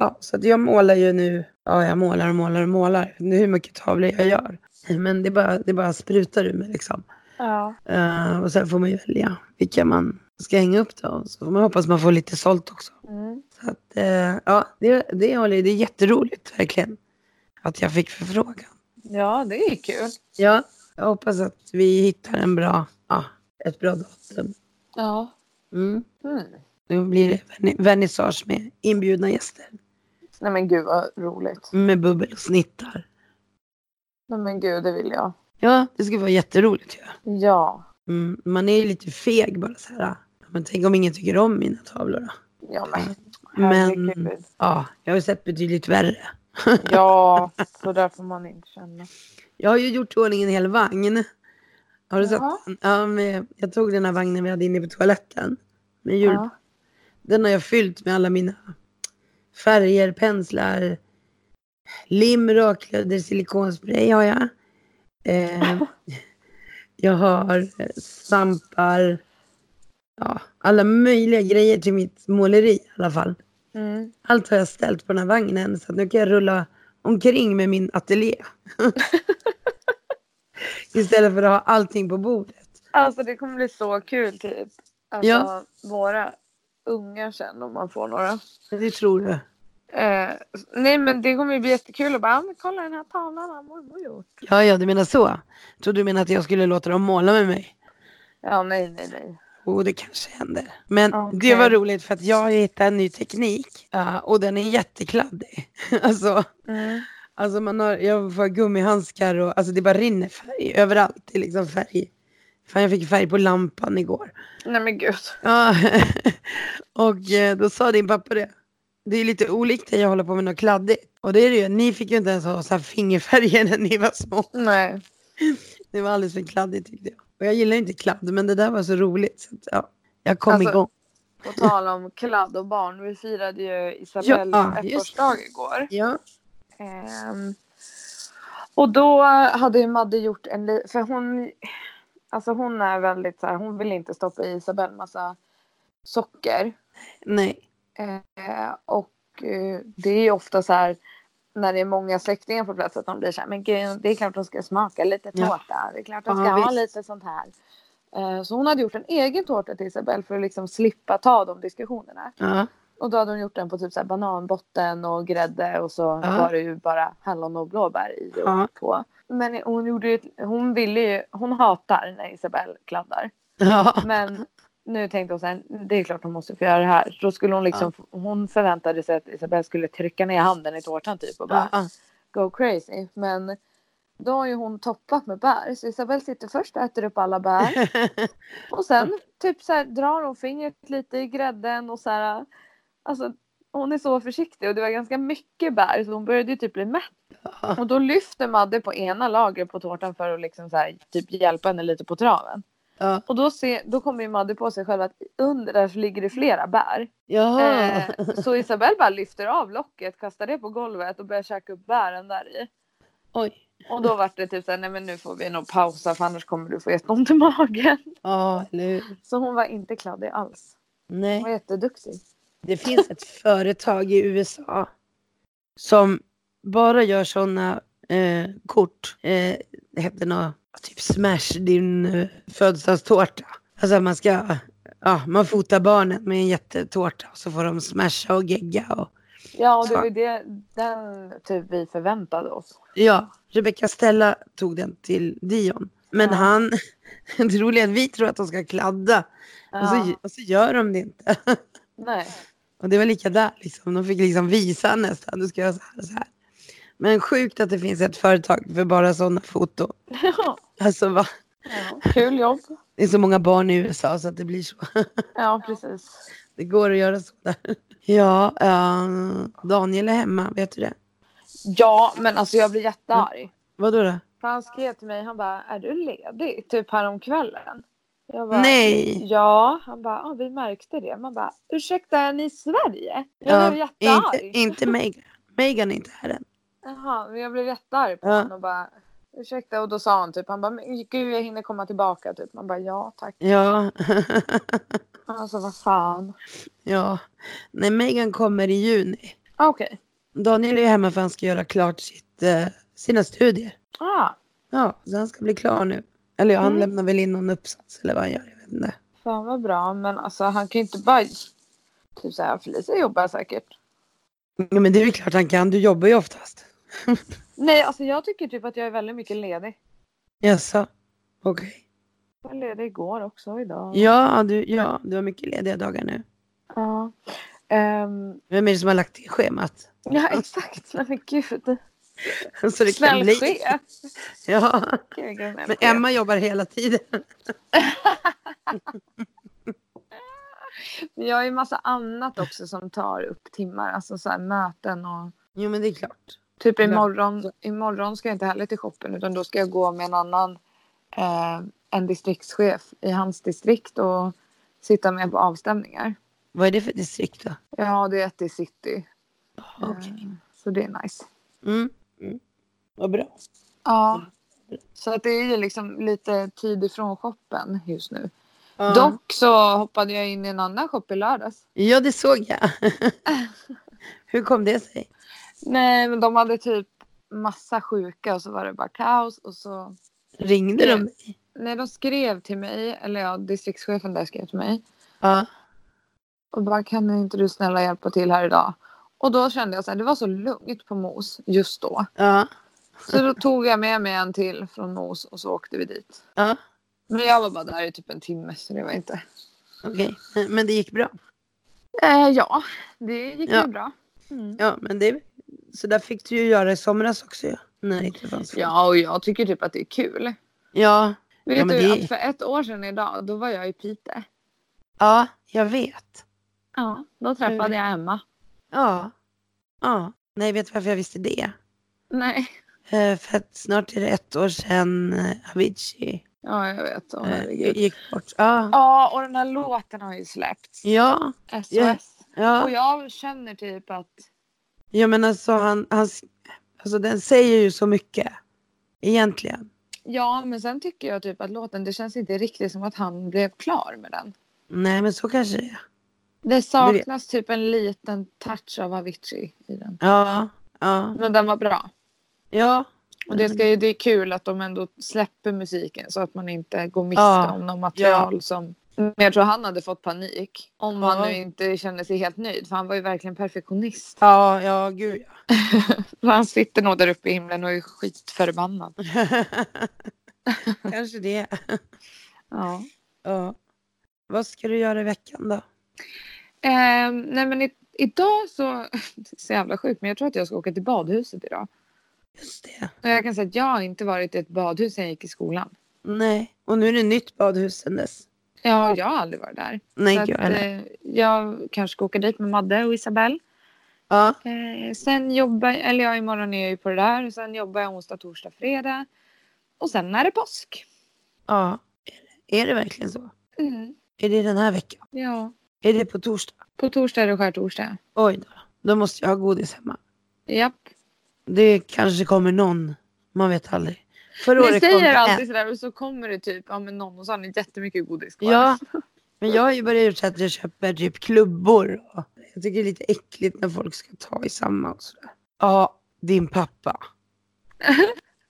Speaker 2: ja, så att jag målar ju nu. Ja, jag målar och målar och målar. Jag vet inte hur mycket tavlor jag gör. Men det bara, det bara sprutar ur mig liksom.
Speaker 1: Ja.
Speaker 2: Eh, och sen får man ju välja vilka man ska hänga upp då. Så får man hoppas man får lite sålt också.
Speaker 1: Mm.
Speaker 2: Så att, eh, ja, det, det, håller, det är jätteroligt verkligen att jag fick förfrågan.
Speaker 1: ja, det är ju kul.
Speaker 2: Ja, jag hoppas att vi hittar en bra, ja, ett bra datum.
Speaker 1: Ja.
Speaker 2: Mm.
Speaker 1: Mm.
Speaker 2: Nu blir det verni- vernissage med inbjudna gäster.
Speaker 1: Nej men gud vad roligt.
Speaker 2: Med bubbel och snittar.
Speaker 1: Nej men gud, det vill jag.
Speaker 2: Ja, det skulle vara jätteroligt ju.
Speaker 1: Ja.
Speaker 2: Mm, man är ju lite feg bara så här. ja, Men tänk om ingen tycker om mina tavlor då?
Speaker 1: Ja men.
Speaker 2: Men-
Speaker 1: herregud.
Speaker 2: Ja, jag har ju sett betydligt värre.
Speaker 1: Ja, så där får man inte känna.
Speaker 2: Jag har ju gjort i ordning en hel vagn. Har du sett
Speaker 1: Jaha.
Speaker 2: den? Ja, men jag tog den här vagnen vi hade inne på toaletten. Med jul.
Speaker 1: Ja.
Speaker 2: Den har jag fyllt med alla mina färger, penslar, lim, raklödder, silikonspray har jag. Eh, jag har svampar. Ja, alla möjliga grejer till mitt måleri i alla fall.
Speaker 1: Mm.
Speaker 2: Allt har jag ställt på den här vagnen så att nu kan jag rulla omkring med min ateljé. Istället för att ha allting på bordet.
Speaker 1: Alltså det kommer bli så kul typ. Alltså
Speaker 2: Ja.
Speaker 1: våra ungar sen om man får några.
Speaker 2: Det tror du.
Speaker 1: Eh, nej men det kommer ju bli jättekul att bara, "Ah, men kolla den här tavlan har mormor gjort.
Speaker 2: Ja, ja, du menar så. Tror du menar att jag skulle låta dem måla med mig?
Speaker 1: Ja nej nej nej.
Speaker 2: Och det kanske händer. Men
Speaker 1: Okej.
Speaker 2: det var roligt för att jag har ju hittat en ny teknik ja, och den är jättekladdig. alltså,
Speaker 1: Mm.
Speaker 2: alltså man har, jag får gummihandskar och alltså det bara rinner färg överallt. Det är liksom färg. Fan, jag fick färg på lampan igår.
Speaker 1: Nej men gud.
Speaker 2: Ja, och eh, då sa din pappa det. Det är lite olikt det jag håller på med något kladdigt. Och det är det ju. Ni fick ju inte ens ha så här fingerfärger när ni var små.
Speaker 1: Nej.
Speaker 2: Det var alldeles för kladdigt tyckte jag. Och jag gillar ju inte kladd, men det där var så roligt. Så att, ja, jag kom
Speaker 1: Alltså,
Speaker 2: igång.
Speaker 1: På tal om kladd och barn. Vi firade ju Isabells
Speaker 2: Ja, just det.
Speaker 1: ettårsdag igår.
Speaker 2: Ja.
Speaker 1: Ehm, och då hade ju Madde gjort en li- för hon, alltså hon är väldigt så här, hon vill inte stoppa i Isabelle massa socker.
Speaker 2: Nej.
Speaker 1: Eh, och eh, det är ju ofta så här när det är många släktingar på plats att de blir så här, men gud, det är klart de ska smaka lite
Speaker 2: Ja.
Speaker 1: tårta, det är klart de ska
Speaker 2: Ja,
Speaker 1: ha
Speaker 2: visst.
Speaker 1: lite sånt här. Eh, så hon hade gjort en egen tårta till Isabelle för att liksom slippa ta de diskussionerna.
Speaker 2: Ja.
Speaker 1: Och då hade hon gjort den på typ så här bananbotten och grädde och så
Speaker 2: Ja.
Speaker 1: var det ju bara hallon och blåbär i och
Speaker 2: Ja.
Speaker 1: på. Men hon gjorde ju, ett- hon ville ju, hon hatar när Isabelle kladdar.
Speaker 2: Ja.
Speaker 1: Men nu tänkte hon så här, det är klart hon måste få göra det här. Då skulle hon liksom, hon förväntade sig att Isabelle skulle trycka ner handen i tårtan typ och bara
Speaker 2: Ja.
Speaker 1: go crazy. Men då har ju hon toppat med bär så Isabelle sitter först och äter upp alla bär. Och sen typ så här, drar hon fingret lite i grädden och så här. Alltså hon är så försiktig och det var ganska mycket bär så hon började ju typ bli mätt. Och då lyfter Madde på ena lagret på tårtan för att liksom så här, typ hjälpa henne lite på traven.
Speaker 2: Ja.
Speaker 1: Och då, ser, då kommer ju Madde på sig själv att under där så ligger det flera bär.
Speaker 2: Jaha.
Speaker 1: Eh, så Isabelle bara lyfter av locket, kastar det på golvet och börjar käka upp bären där i.
Speaker 2: Oj.
Speaker 1: Och då vart det typ såhär, nej men nu får vi nog pausa för annars kommer du få jätteont i magen.
Speaker 2: Ja, eller hur?
Speaker 1: Så hon var inte kladdig alls. Hon var
Speaker 2: Nej.
Speaker 1: jätteduktig.
Speaker 2: Det finns ett företag i USA som bara gör sådana eh, kort. Eh, det heter något, typ smash din eh, födelsedagstårta. Alltså man ska, ja, man fotar barnen med en jättetårta och så får de smasha och gegga och
Speaker 1: Ja, och det
Speaker 2: Så.
Speaker 1: var ju det, den typ vi förväntade oss.
Speaker 2: Ja, Rebecca Stella tog den till Dion. Men
Speaker 1: Ja.
Speaker 2: han, det roliga är att vi tror att de ska kladda. Och, så,
Speaker 1: Ja,
Speaker 2: och så gör de det inte.
Speaker 1: nej.
Speaker 2: Och det var lika där liksom. De fick liksom visa nästan. Du ska göra så här och så här. Men sjukt att det finns ett företag för bara sådana foto.
Speaker 1: Ja,
Speaker 2: Alltså va?
Speaker 1: kul jobb.
Speaker 2: Det är så många barn i USA så att det blir så.
Speaker 1: Ja, precis.
Speaker 2: Det går att göra så där. Ja, eh, Daniel är hemma. Vet du det?
Speaker 1: Ja, men alltså jag blir jättearg.
Speaker 2: Vadå då?
Speaker 1: För han skrev till mig, han bara, är du ledig? Typ häromkvällen. Jag bara,
Speaker 2: Nej!
Speaker 1: Ja, han bara, ah, vi märkte det. Man bara, ursäkta, är ni i Sverige? Jag
Speaker 2: Ja,
Speaker 1: blev
Speaker 2: inte,
Speaker 1: jättearg.
Speaker 2: Ehm, inte Megan. Megan är inte här än.
Speaker 1: Jaha, men jag blev jättearg på
Speaker 2: Ja.
Speaker 1: honom och bara, ursäkta. Och då sa han typ, han bara, men gud jag hinner komma tillbaka typ. Man bara, ja tack.
Speaker 2: Ja.
Speaker 1: Alltså vad fan.
Speaker 2: Ja, nej Megan kommer i juni.
Speaker 1: Ah, Okej.
Speaker 2: Daniel är hemma för han ska göra klart sitt, eh, sina studier.
Speaker 1: Ah,
Speaker 2: Ja, så han ska bli klar nu. Eller ja,
Speaker 1: Mm.
Speaker 2: han lämnar väl in någon uppsats eller vad han gör. Jag vet inte.
Speaker 1: Fan vad bra. Men alltså han kan ju inte bara... Typ så här, Felicia jobbar säkert.
Speaker 2: Ja, men det är väl klart han kan. Du jobbar ju oftast.
Speaker 1: Nej, alltså jag tycker typ att jag är väldigt mycket ledig.
Speaker 2: Jaså? Okej.
Speaker 1: Jag var ledig igår också och idag.
Speaker 2: Ja, du, ja, du har mycket lediga dagar nu.
Speaker 1: Ja. Ehm,
Speaker 2: Vem är det som har lagt till schemat?
Speaker 1: ja, exakt. Nej men gud.
Speaker 2: Så det kan
Speaker 1: Snäll
Speaker 2: bli.
Speaker 1: chef.
Speaker 2: Ja.
Speaker 1: Gud, vilken snäll
Speaker 2: Men
Speaker 1: chef.
Speaker 2: Emma jobbar hela tiden.
Speaker 1: Men Jag har ju massa annat också som tar upp timmar. Alltså så här möten och
Speaker 2: Jo, men det är klart.
Speaker 1: typ
Speaker 2: Ja.
Speaker 1: imorgon. Imorgon ska jag inte heller till shoppen utan då ska jag gå med en annan. Eh, en distriktschef i hans distrikt och sitta med på avstämningar.
Speaker 2: Vad är det för distrikt då?
Speaker 1: Ja, det är ett i city.
Speaker 2: Jaha, Okej.
Speaker 1: Eh, så det är nice.
Speaker 2: Mm. Mm. Vad bra.
Speaker 1: Ja.
Speaker 2: Mm.
Speaker 1: Så att det är ju liksom lite tid ifrån shoppen just nu.
Speaker 2: Ja.
Speaker 1: Dock så hoppade jag in i en annan shop i lördags.
Speaker 2: Ja, det såg jag. Hur kom det sig?
Speaker 1: Nej, men de hade typ massa sjuka och så var det bara kaos och så.
Speaker 2: Ringde de dig?
Speaker 1: Nej, de skrev till mig, eller ja, distriktschefen där skrev till mig
Speaker 2: Ja.
Speaker 1: och bara kan inte du snälla hjälpa till här idag? Och då kände jag så här, det var så lugnt på Mos just då.
Speaker 2: Ja.
Speaker 1: Så då tog jag med mig en till från Mos och så åkte vi dit.
Speaker 2: ja.
Speaker 1: Men jag var bara där i typ en timme så det var inte.
Speaker 2: Okej. Men- Men det gick bra.
Speaker 1: Eh, ja, det gick
Speaker 2: Ja.
Speaker 1: ju bra. Mm.
Speaker 2: Ja, men det... Så där fick du ju göra i somras också ju. När det inte fanns folk.
Speaker 1: Ja, och jag tycker typ att det är kul.
Speaker 2: Ja.
Speaker 1: Vet
Speaker 2: Ja, men
Speaker 1: du
Speaker 2: det-
Speaker 1: att för ett år sedan idag, då var jag i Piteå.
Speaker 2: Ja, jag vet.
Speaker 1: Ja, då träffade jag Emma.
Speaker 2: Ja. Ja. Nej, vet du varför jag visste det?
Speaker 1: Nej.
Speaker 2: Eh, För att snart är det ett år sedan eh, Avicii
Speaker 1: Ja, jag vet. Åh,
Speaker 2: eh,
Speaker 1: herregud.
Speaker 2: gick bort. Ja.
Speaker 1: Ja, och den här låten har ju släppts.
Speaker 2: Ja.
Speaker 1: SOS.
Speaker 2: Ja.
Speaker 1: Och
Speaker 2: Ja.
Speaker 1: jag känner typ att...
Speaker 2: ja, men alltså han, han... Alltså den säger ju så mycket. Egentligen.
Speaker 1: Ja, men sen tycker jag typ att låten, det känns inte riktigt som att han blev klar med den.
Speaker 2: Nej, men så kanske det är.
Speaker 1: Det saknas typ en liten touch av Avicii i den.
Speaker 2: Ja. Ja.
Speaker 1: Men den var bra.
Speaker 2: Ja.
Speaker 1: Och det,
Speaker 2: Mm.
Speaker 1: ska, ju- det är kul att de ändå släpper musiken så att man inte går miste
Speaker 2: Ja.
Speaker 1: om något material som... Men jag tror han hade fått panik. Om han
Speaker 2: Ja.
Speaker 1: nu inte kände sig helt nöjd. För han var ju verkligen perfektionist.
Speaker 2: Ja, ja, gud ja.
Speaker 1: Så han sitter nog där uppe i himlen och är skitförbannad.
Speaker 2: Kanske det.
Speaker 1: Ja.
Speaker 2: Ja. Vad ska du göra i veckan då?
Speaker 1: Ehm, nej men i, idag så, det är så jävla sjukt men jag tror att jag ska åka till badhuset idag.
Speaker 2: Just det.
Speaker 1: Och jag kan säga att jag har inte varit i ett badhus sen jag gick i skolan.
Speaker 2: Nej. Och nu är det nytt badhus sen dess.
Speaker 1: Ja, jag har aldrig varit där.
Speaker 2: Nej,
Speaker 1: så
Speaker 2: gud
Speaker 1: att,
Speaker 2: heller.
Speaker 1: eh, jag kanske ska åka dit med Madde och Isabelle.
Speaker 2: Ja.
Speaker 1: Eh, sen jobbar, eller ja imorgon är jag ju på det där. Sen jobbar jag onsdag, torsdag, fredag. Och sen är det påsk.
Speaker 2: Ja. Är det, är det verkligen så?
Speaker 1: Mm,
Speaker 2: Är det den här veckan?
Speaker 1: ja,
Speaker 2: Är det på torsdag?
Speaker 1: på torsdag är det skärtorsdag.
Speaker 2: Oj då. Då måste jag ha godis hemma.
Speaker 1: Japp.
Speaker 2: Det kanske kommer någon. Man vet aldrig. Förra
Speaker 1: Ni
Speaker 2: kom det
Speaker 1: säger
Speaker 2: en.
Speaker 1: alltid sådär och så kommer det typ, ja men någon och så har ni jättemycket godis kvar.
Speaker 2: Ja. Men jag har ju börjat göra så att jag köper typ klubbor. Och jag tycker det är lite äckligt när folk ska ta i samma och sådär. Ja, din pappa.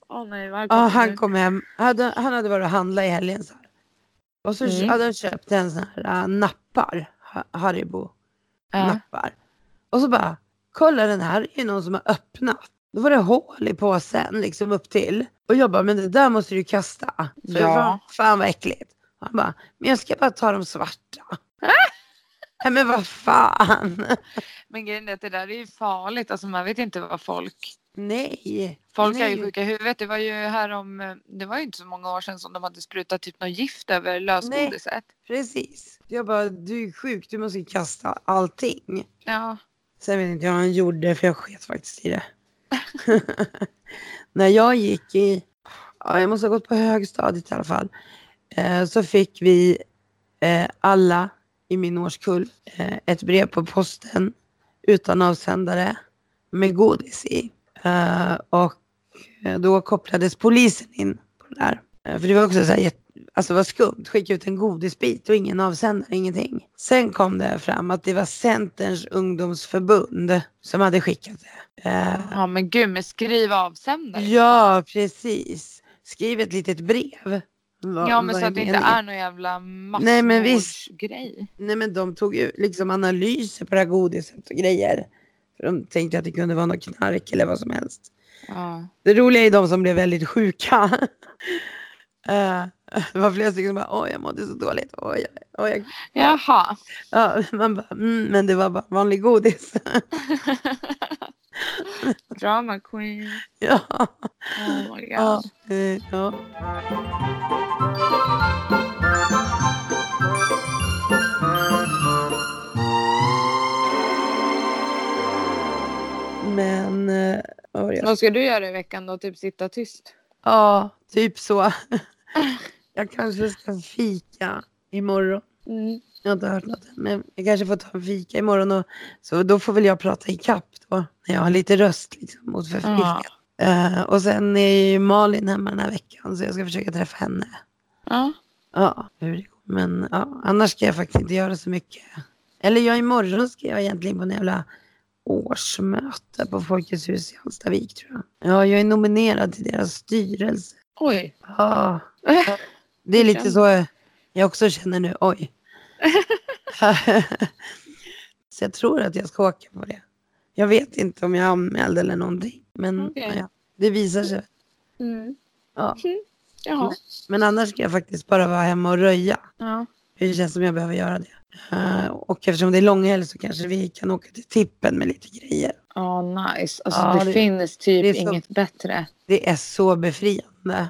Speaker 1: Åh nej, vad
Speaker 2: Ja,
Speaker 1: kommer
Speaker 2: han
Speaker 1: det?
Speaker 2: kom hem. Hade, han hade varit och handlat i helgen. Så här. Och så
Speaker 1: Mm.
Speaker 2: hade han köpt en sån här äh, nappar. Ha- Haribo-nappar.
Speaker 1: Ja.
Speaker 2: Och så bara, kolla den här är ju någon som har öppnat. Då var det hål i påsen liksom upp till. Och jag bara, men det där måste du ju kasta. Så jag
Speaker 1: Ja.
Speaker 2: bara, fan vad äckligt. Och han bara, men jag ska bara ta de svarta. Nej men vad fan.
Speaker 1: Men grejen är att det där är ju farligt. Alltså man vet inte vad folk...
Speaker 2: Nej.
Speaker 1: Folk
Speaker 2: Nej.
Speaker 1: är ju sjuka i huvudet. Det var ju här om... eh, Det var ju inte så många år sedan som de hade sprutat typ något gift över lösgodiset.
Speaker 2: Precis. Jag bara, du är sjuk, du måste ju kasta allting.
Speaker 1: Ja.
Speaker 2: Sen vet inte jag vad han gjorde för jag sket faktiskt i det. När jag gick i, ja, jag måste ha gått på högstadiet i alla fall, eh, så fick vi eh, alla i min årskull eh, ett brev på posten utan avsändare med godis i. Eh, och eh, då kopplades polisen in på det där. Eh, för det var också så här, jätte- alltså vad skumt, skicka ut en godisbit och ingen avsändare, ingenting. Sen kom det fram att det var Centerns ungdomsförbund som hade skickat det. Eh,
Speaker 1: Ja men gud, men skriv avsändare.
Speaker 2: Ja, precis. skriv ett litet brev. Vad-
Speaker 1: Ja, men
Speaker 2: vad
Speaker 1: så att det inte
Speaker 2: meningen?
Speaker 1: är någon jävla
Speaker 2: typ- Nej, men visst.
Speaker 1: massmordsgrej.
Speaker 2: Nej men de tog ju liksom analyser på det här godiset och grejer. För de tänkte att det kunde vara något knark eller vad som helst.
Speaker 1: Ja.
Speaker 2: Det roliga är de som blev väldigt sjuka. Eh, det var flera stycken som bara, åh jag mådde så dåligt. Åh, jag, åh, jag.
Speaker 1: Jaha.
Speaker 2: Ja, man bara, mm, men det var bara vanlig godis.
Speaker 1: Drama queen.
Speaker 2: ja.
Speaker 1: Oh my god.
Speaker 2: Ja. eh, ja. Men, eh, vad var det jag
Speaker 1: Vad ska du göra i veckan då? Typ sitta tyst?
Speaker 2: Ja, typ så. Jag kanske ska fika imorgon.
Speaker 1: Mm.
Speaker 2: Jag har inte hört något än, men jag kanske får ta en fika imorgon. Och, så då får väl jag prata i kapp då, när jag har lite röst liksom, mot förfika.
Speaker 1: Ja.
Speaker 2: Eh, och sen är ju Malin hemma den här veckan, så jag ska försöka träffa henne.
Speaker 1: Ja.
Speaker 2: Ja, hur det går. Men ja, annars ska jag faktiskt inte göra så mycket. Eller jag imorgon ska jag egentligen på en jävla årsmöte på Folkets hus i Hallstavik tror jag. Ja, jag är nominerad till deras styrelse.
Speaker 1: Oj.
Speaker 2: Ja, det är lite så jag också känner nu. Oj. så jag tror att jag ska åka på det. Jag vet inte om jag är anmäld eller någonting. Men
Speaker 1: Okej.
Speaker 2: ja, det visar sig.
Speaker 1: Mm.
Speaker 2: Ja. Mm.
Speaker 1: Jaha.
Speaker 2: Men annars ska jag faktiskt bara vara hemma och röja.
Speaker 1: Ja.
Speaker 2: Det känns som jag behöver göra det. Eh, och eftersom det är långhelg så kanske vi kan åka till tippen med lite grejer.
Speaker 1: Ja, nice. Alltså,
Speaker 2: Ja,
Speaker 1: det,
Speaker 2: det-
Speaker 1: finns typ
Speaker 2: det är så-
Speaker 1: inget bättre.
Speaker 2: Det är så befriande.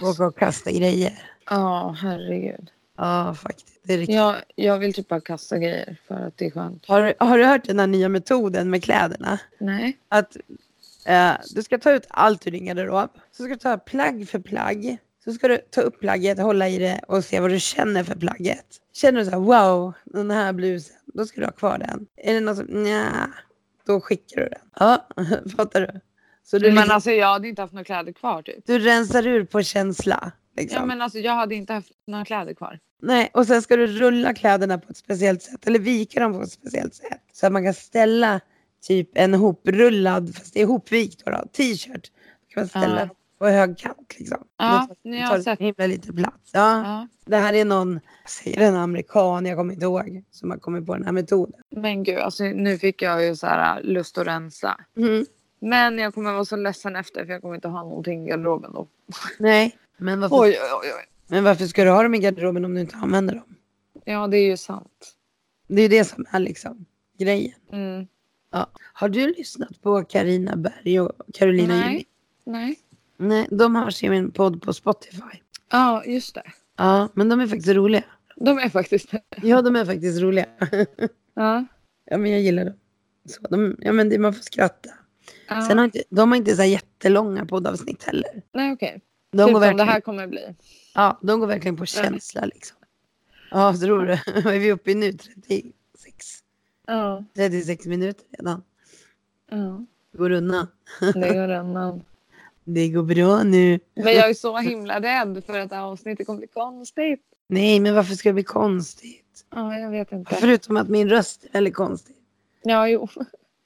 Speaker 2: Åka och kasta grejer.
Speaker 1: Ja, herregud.
Speaker 2: Ja, faktiskt. Det är riktigt.
Speaker 1: Jag, jag vill typ bara kasta grejer för att det är skönt.
Speaker 2: Har, du- har du hört den här nya metoden med kläderna?
Speaker 1: Nej.
Speaker 2: att eh, du ska ta ut allt ur din garderob. Så ska du ta plagg för plagg. Så ska du ta upp plagget, hålla i det och se vad du känner för plagget. Känner du så här, wow, den här blusen, då ska du ha kvar den. Är det något som, nja, då skickar du den. Ja, fattar du? Så du,
Speaker 1: Men
Speaker 2: liksom,
Speaker 1: alltså jag hade inte haft några kläder kvar typ.
Speaker 2: du rensar ur på känsla. Liksom.
Speaker 1: Ja, men alltså, jag hade inte haft några kläder kvar.
Speaker 2: Nej, och sen ska du rulla kläderna på ett speciellt sätt eller vika dem på ett speciellt sätt. Så att man kan ställa typ en hoprullad, fast det är hopvikt då, då t-shirt. Då kan man ställa
Speaker 1: Ja.
Speaker 2: den på högkant liksom.
Speaker 1: Ja,
Speaker 2: Då
Speaker 1: jag
Speaker 2: tar
Speaker 1: har
Speaker 2: det
Speaker 1: sett.
Speaker 2: så himla lite plats. Ja,
Speaker 1: Ja.
Speaker 2: Det här är någon, jag säger en amerikan, jag kommer inte ihåg, som har kommit på den här metoden.
Speaker 1: Men gud, alltså, nu fick jag ju så här äh, lust att rensa. Men jag kommer vara så ledsen efter för jag kommer inte ha någonting i garderoben då. Alltså,
Speaker 2: Nej, men varför,
Speaker 1: Oj, oj, oj, oj.
Speaker 2: men varför ska du ha dem i garderoben om du inte använder dem?
Speaker 1: Ja, det är ju sant.
Speaker 2: Det är ju det som är liksom grejen.
Speaker 1: Mm.
Speaker 2: Ja. Har du lyssnat på Karina Berg och Carolina
Speaker 1: Nej.
Speaker 2: Gynning?
Speaker 1: Nej.
Speaker 2: Nej, de har sin podd på Spotify.
Speaker 1: Ja, just det.
Speaker 2: Ja, men de är faktiskt roliga.
Speaker 1: De är faktiskt det.
Speaker 2: Ja, de är faktiskt roliga.
Speaker 1: Ja.
Speaker 2: ja, men jag gillar dem. Så, de, ja, men det, man får skratta.
Speaker 1: ja.
Speaker 2: Sen har inte, de har inte så här jättelånga poddavsnitt heller.
Speaker 1: Nej, okej.
Speaker 2: De,
Speaker 1: typ som
Speaker 2: går,
Speaker 1: det
Speaker 2: verkligen,
Speaker 1: här kommer bli.
Speaker 2: ja, de går verkligen på känsla liksom. Ja, vad tror du? Vad är vi uppe i nu? 36,
Speaker 1: Ja.
Speaker 2: 36 minuter redan.
Speaker 1: ja.
Speaker 2: Det går undan.
Speaker 1: Det går undan.
Speaker 2: Det går bra nu.
Speaker 1: Men jag är så himla rädd för att det här avsnittet kommer bli konstigt.
Speaker 2: Nej, men varför ska det bli konstigt?
Speaker 1: Ja, jag vet inte.
Speaker 2: Förutom att min röst är väldigt konstig.
Speaker 1: Ja, jo.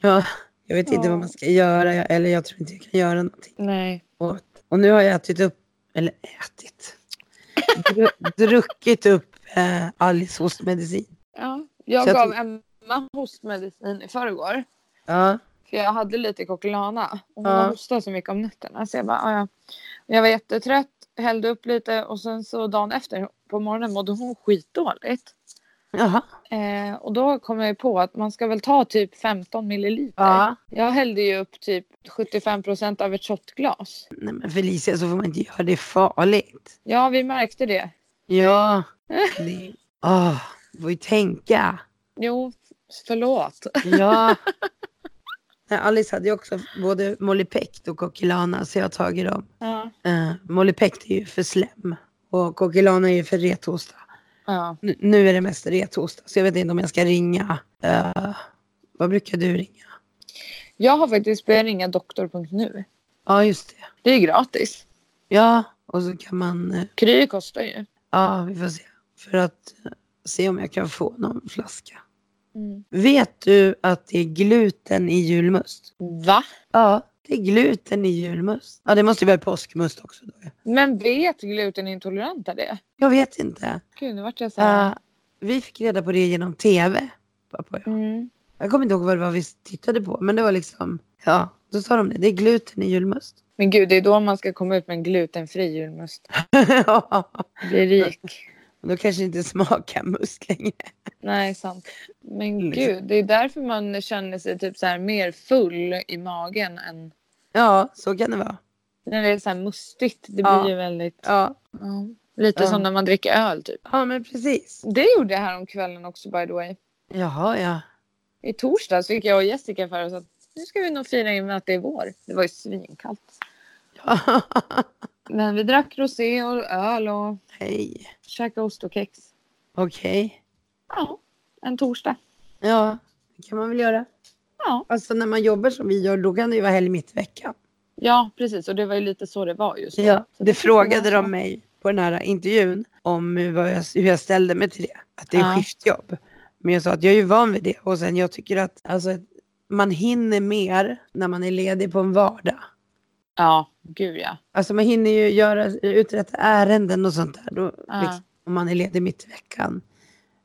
Speaker 2: Ja, jag vet inte
Speaker 1: Ja.
Speaker 2: vad man ska göra. Jag- Eller jag tror inte jag kan göra någonting
Speaker 1: Nej.
Speaker 2: åt. Och nu har jag ätit upp, eller ätit, Dru- druckit upp eh, Alice hostmedicin.
Speaker 1: Ja. Jag
Speaker 2: Så jag
Speaker 1: gav
Speaker 2: tror-
Speaker 1: Emma hostmedicin i förrgår.
Speaker 2: Ja,
Speaker 1: För jag hade lite koklana. Och hon
Speaker 2: Ja.
Speaker 1: hostade så mycket om nätterna. Så jag bara, "Ah, ja. Jag var jättetrött. Hällde upp lite. Och sen så dagen efter på morgonen mådde hon skitdåligt.
Speaker 2: jaha.
Speaker 1: Eh, och då kom jag ju på att man ska väl ta typ 15 milliliter.
Speaker 2: Ja.
Speaker 1: Jag hällde ju upp typ 75 procent av ett shotglas.
Speaker 2: Nej men Felicia, så får man inte göra. Det är farligt.
Speaker 1: Ja, vi märkte det.
Speaker 2: Ja. Det, åh, du får ju tänka.
Speaker 1: Jo, förlåt.
Speaker 2: Ja. Nej, Alice hade ju också både Molipekt och Kokilana, så jag har tagit dem.
Speaker 1: Ja.
Speaker 2: Eh, Molipekt är ju för slem och Kokilana är ju för rethosta.
Speaker 1: Ja.
Speaker 2: Nu- nu är det mest rethosta, så jag vet inte om jag ska ringa. Eh, vad brukar du ringa?
Speaker 1: Jag har faktiskt börjat ringa doktor.nu.
Speaker 2: Ja, just det.
Speaker 1: Det är gratis.
Speaker 2: Ja, och så kan man... eh,
Speaker 1: Kry kostar ju.
Speaker 2: ja, vi får se. För att eh, se om jag kan få någon flaska. Mm. Vet du att det är gluten i julmust?
Speaker 1: Va?
Speaker 2: Ja, det Det är gluten i julmust. Ja, det måste ju vara påskmust också. Då.
Speaker 1: Men vet glutenintoleranta det?
Speaker 2: Jag vet inte.
Speaker 1: Gud, nu vart jag så här...
Speaker 2: Eh, vi fick reda på det genom tv. pappa och jag.
Speaker 1: Mm.
Speaker 2: Jag kommer inte ihåg vad det var vi tittade på, men det var liksom, ja, då sa de det. Det är gluten i julmust.
Speaker 1: Men gud, det är då man ska komma ut med en glutenfri julmust. Bli rik.
Speaker 2: då kanske inte smakar must längre.
Speaker 1: Nej, sant. Men
Speaker 2: Liksom.
Speaker 1: gud, det är därför man känner sig typ så här mer full i magen än
Speaker 2: Ja, så kan det vara.
Speaker 1: när det är så här mustigt. Det blir
Speaker 2: Ja.
Speaker 1: ju väldigt...
Speaker 2: Ja,
Speaker 1: Ja. Lite
Speaker 2: Ja.
Speaker 1: som när man dricker öl typ.
Speaker 2: ja men precis.
Speaker 1: Det gjorde jag här om kvällen också by the way.
Speaker 2: Jaha, ja.
Speaker 1: I torsdags fick jag och Jessica för oss att nu ska vi nog fira in med att det är vår. Det var ju svinkallt.
Speaker 2: ja.
Speaker 1: Men vi drack rosé och öl och
Speaker 2: Hej.
Speaker 1: käkade ost och kex.
Speaker 2: Okej.
Speaker 1: Ja, en torsdag.
Speaker 2: Ja, det kan man väl göra.
Speaker 1: Ja.
Speaker 2: Alltså när man jobbar som vi gör, då kan det ju vara helg mitt i veckan.
Speaker 1: ja, precis. Och det var ju lite så det var just då.
Speaker 2: Ja,
Speaker 1: Så
Speaker 2: det
Speaker 1: fick
Speaker 2: frågade
Speaker 1: vara
Speaker 2: de mig på den här intervjun om hur vad jag, hur jag ställde mig till det. Att det är
Speaker 1: Ja.
Speaker 2: skiftjobb. Men jag sa att jag är ju van vid det och sen jag tycker att alltså, man hinner mer när man är ledig på en vardag.
Speaker 1: Ja, gud ja.
Speaker 2: Alltså man hinner ju göra, uträtta ärenden och sånt där. Då,
Speaker 1: Ja.
Speaker 2: liksom, om man är ledig mitt i veckan.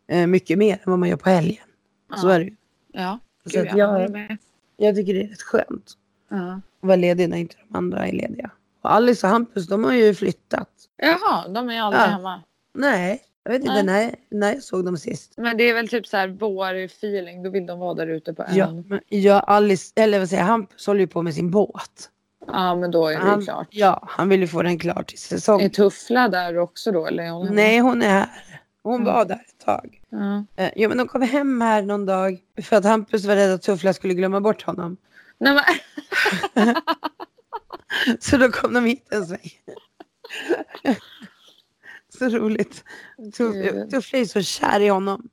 Speaker 2: Eh, mycket mer än vad man gör på helgen. Så
Speaker 1: Ja.
Speaker 2: är det ju.
Speaker 1: Ja,
Speaker 2: Så
Speaker 1: gud
Speaker 2: att
Speaker 1: ja.
Speaker 2: jag-
Speaker 1: håller med.
Speaker 2: Jag tycker det är rätt skönt.
Speaker 1: Ja.
Speaker 2: vara ledig när inte de andra är lediga. Och Alice och Hampus, de har ju flyttat.
Speaker 1: Jaha, de är aldrig
Speaker 2: Ja.
Speaker 1: hemma.
Speaker 2: Nej, jag vet inte
Speaker 1: Nej.
Speaker 2: när, när jag såg dem sist.
Speaker 1: Men det är väl typ så här vår-feeling. Då vill de vara där ute på ön.
Speaker 2: Ja,
Speaker 1: Ja,
Speaker 2: men, ja, Alice, eller vad säger jag, Hampus håller ju på med sin båt.
Speaker 1: men då är det
Speaker 2: Han-
Speaker 1: ju klart.
Speaker 2: Ja, han vill ju få den klar till säsong.
Speaker 1: Är Tuffla där också då? Eller är hon hemma?
Speaker 2: Nej, hon är här. Hon
Speaker 1: Mm.
Speaker 2: var där ett tag.
Speaker 1: Ja.
Speaker 2: Eh, Jo, men de kom hem här någon dag för att Hampus var rädd att Tuffla skulle glömma bort honom.
Speaker 1: Nej, men,
Speaker 2: Så då kom de hit en sväng. Så roligt. Tuff-
Speaker 1: Gud.
Speaker 2: Tuffla är så kär i honom.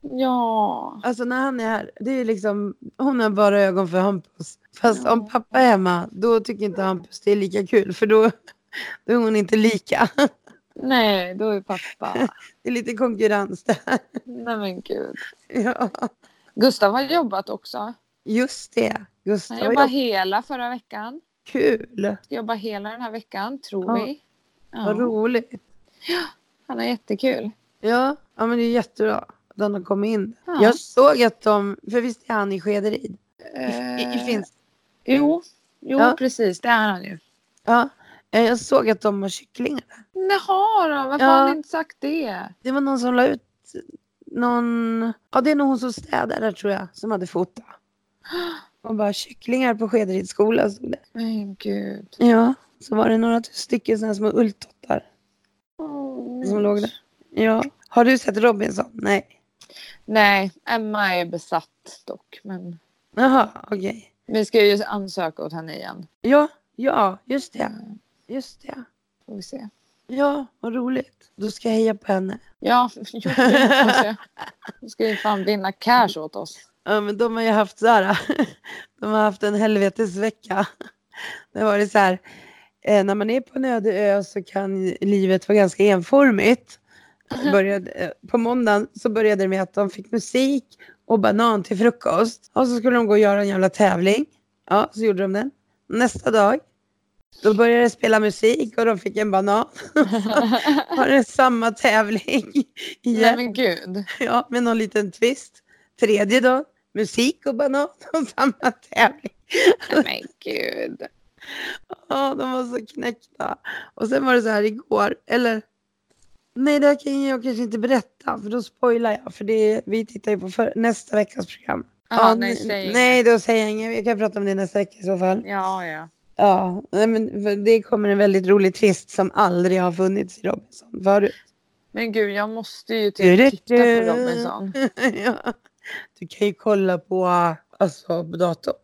Speaker 1: ja.
Speaker 2: Alltså när han är här, det är liksom, hon har bara ögon för Hampus. Fast
Speaker 1: Ja.
Speaker 2: om pappa är hemma, då tycker inte Hampus det är lika kul. För då, då är hon inte lika.
Speaker 1: Nej, då är pappa.
Speaker 2: Det är lite konkurrens där.
Speaker 1: Nej men gud.
Speaker 2: Ja.
Speaker 1: Gustav har jobbat också.
Speaker 2: Just det,
Speaker 1: Han
Speaker 2: Gustav har
Speaker 1: jobbade
Speaker 2: jobbat
Speaker 1: hela förra veckan.
Speaker 2: kul.
Speaker 1: Ska jobba hela den här veckan, tror
Speaker 2: Ja.
Speaker 1: vi.
Speaker 2: Vad
Speaker 1: Ja.
Speaker 2: roligt.
Speaker 1: Han är jättekul.
Speaker 2: Ja, ja men det är jättebra att han har kommit in.
Speaker 1: Ja.
Speaker 2: Jag såg att de, för visst är han i Skederid? I, i, i
Speaker 1: Eh,
Speaker 2: Finns.
Speaker 1: Jo, jo
Speaker 2: Ja.
Speaker 1: precis. Det är han ju.
Speaker 2: Ja. Eh, Jag såg att de har kycklingar där.
Speaker 1: Jaha då, varför
Speaker 2: Ja.
Speaker 1: har ni inte sagt det?
Speaker 2: Det var någon som la ut någon, ja det är nog hon som städar där tror jag, som hade fotat. Och bara kycklingar på Skederyds skola stod det.
Speaker 1: Men gud.
Speaker 2: Ja, så var det några stycken sådana små ulltottar
Speaker 1: Åh,
Speaker 2: som
Speaker 1: mys.
Speaker 2: låg där. Ja. Har du sett Robinson? Nej.
Speaker 1: Nej, Emma är besatt dock. Men
Speaker 2: Jaha, okej.
Speaker 1: vi ska ju ansöka åt henne igen.
Speaker 2: Ja, ja, just det. Just det.
Speaker 1: Får vi se.
Speaker 2: Ja, vad roligt. Då ska jag heja på henne.
Speaker 1: Ja, jo, det får vi se. Hon ska ju fan vinna cash åt oss.
Speaker 2: Ja, men de har ju haft så här. De har haft en helvetesvecka. Det var det så här. eh, När man är på en öde ö så kan livet vara ganska enformigt. Det Började, eh, på måndagen så började det med att de fick musik och banan till frukost. Och så skulle de gå och göra en jävla tävling. Ja, så gjorde de den. Nästa dag, då började det spela musik och de fick en banan. Var det samma tävling igen?
Speaker 1: Nej men gud.
Speaker 2: Ja, med någon liten twist. Tredje dagen, musik och banan och samma tävling.
Speaker 1: Nej men gud.
Speaker 2: Ja, de var så knäckta. Och sen var det så här igår, eller nej, det här kan jag kanske inte berätta för då spoilar jag. För det, vi tittar ju på för, nästa veckas program.
Speaker 1: Ah,
Speaker 2: Ja,
Speaker 1: nej,
Speaker 2: n-
Speaker 1: säg
Speaker 2: nej, då säger jag inget. Vi kan prata om det nästa vecka i så fall.
Speaker 1: inget. Ja, ja.
Speaker 2: Ja, nej, men för det kommer en väldigt rolig twist som aldrig har funnits i Robinson förut.
Speaker 1: Men gud, jag måste ju typ titta på Robinson.
Speaker 2: ja. Du kan ju kolla på, alltså, på datorn.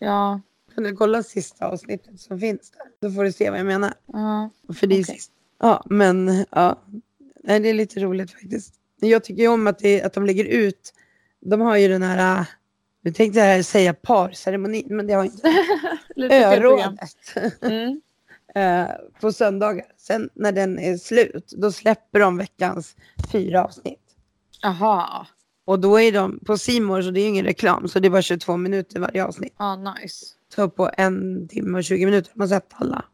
Speaker 1: Ja.
Speaker 2: Kan du kolla sista avsnittet som finns där? Då får du se vad jag menar.
Speaker 1: ja.
Speaker 2: För det är
Speaker 1: Okej.
Speaker 2: sist. Ja, men ja. Nej, det är lite roligt faktiskt. Jag tycker ju om att, det, att de lägger ut. De har ju den här, äh, nu tänkte jag säga parceremonin, men det har jag inte.
Speaker 1: Lite fel program.
Speaker 2: Örådet.
Speaker 1: Mm.
Speaker 2: eh, på söndagar. Sen när den är slut, då släpper de veckans fyra avsnitt.
Speaker 1: Jaha.
Speaker 2: Och då är de på Simor så det är ju ingen reklam. Så det är bara 22 minuter varje avsnitt.
Speaker 1: Ja, nice.
Speaker 2: Så på en timme och 20 minuter har man sett alla.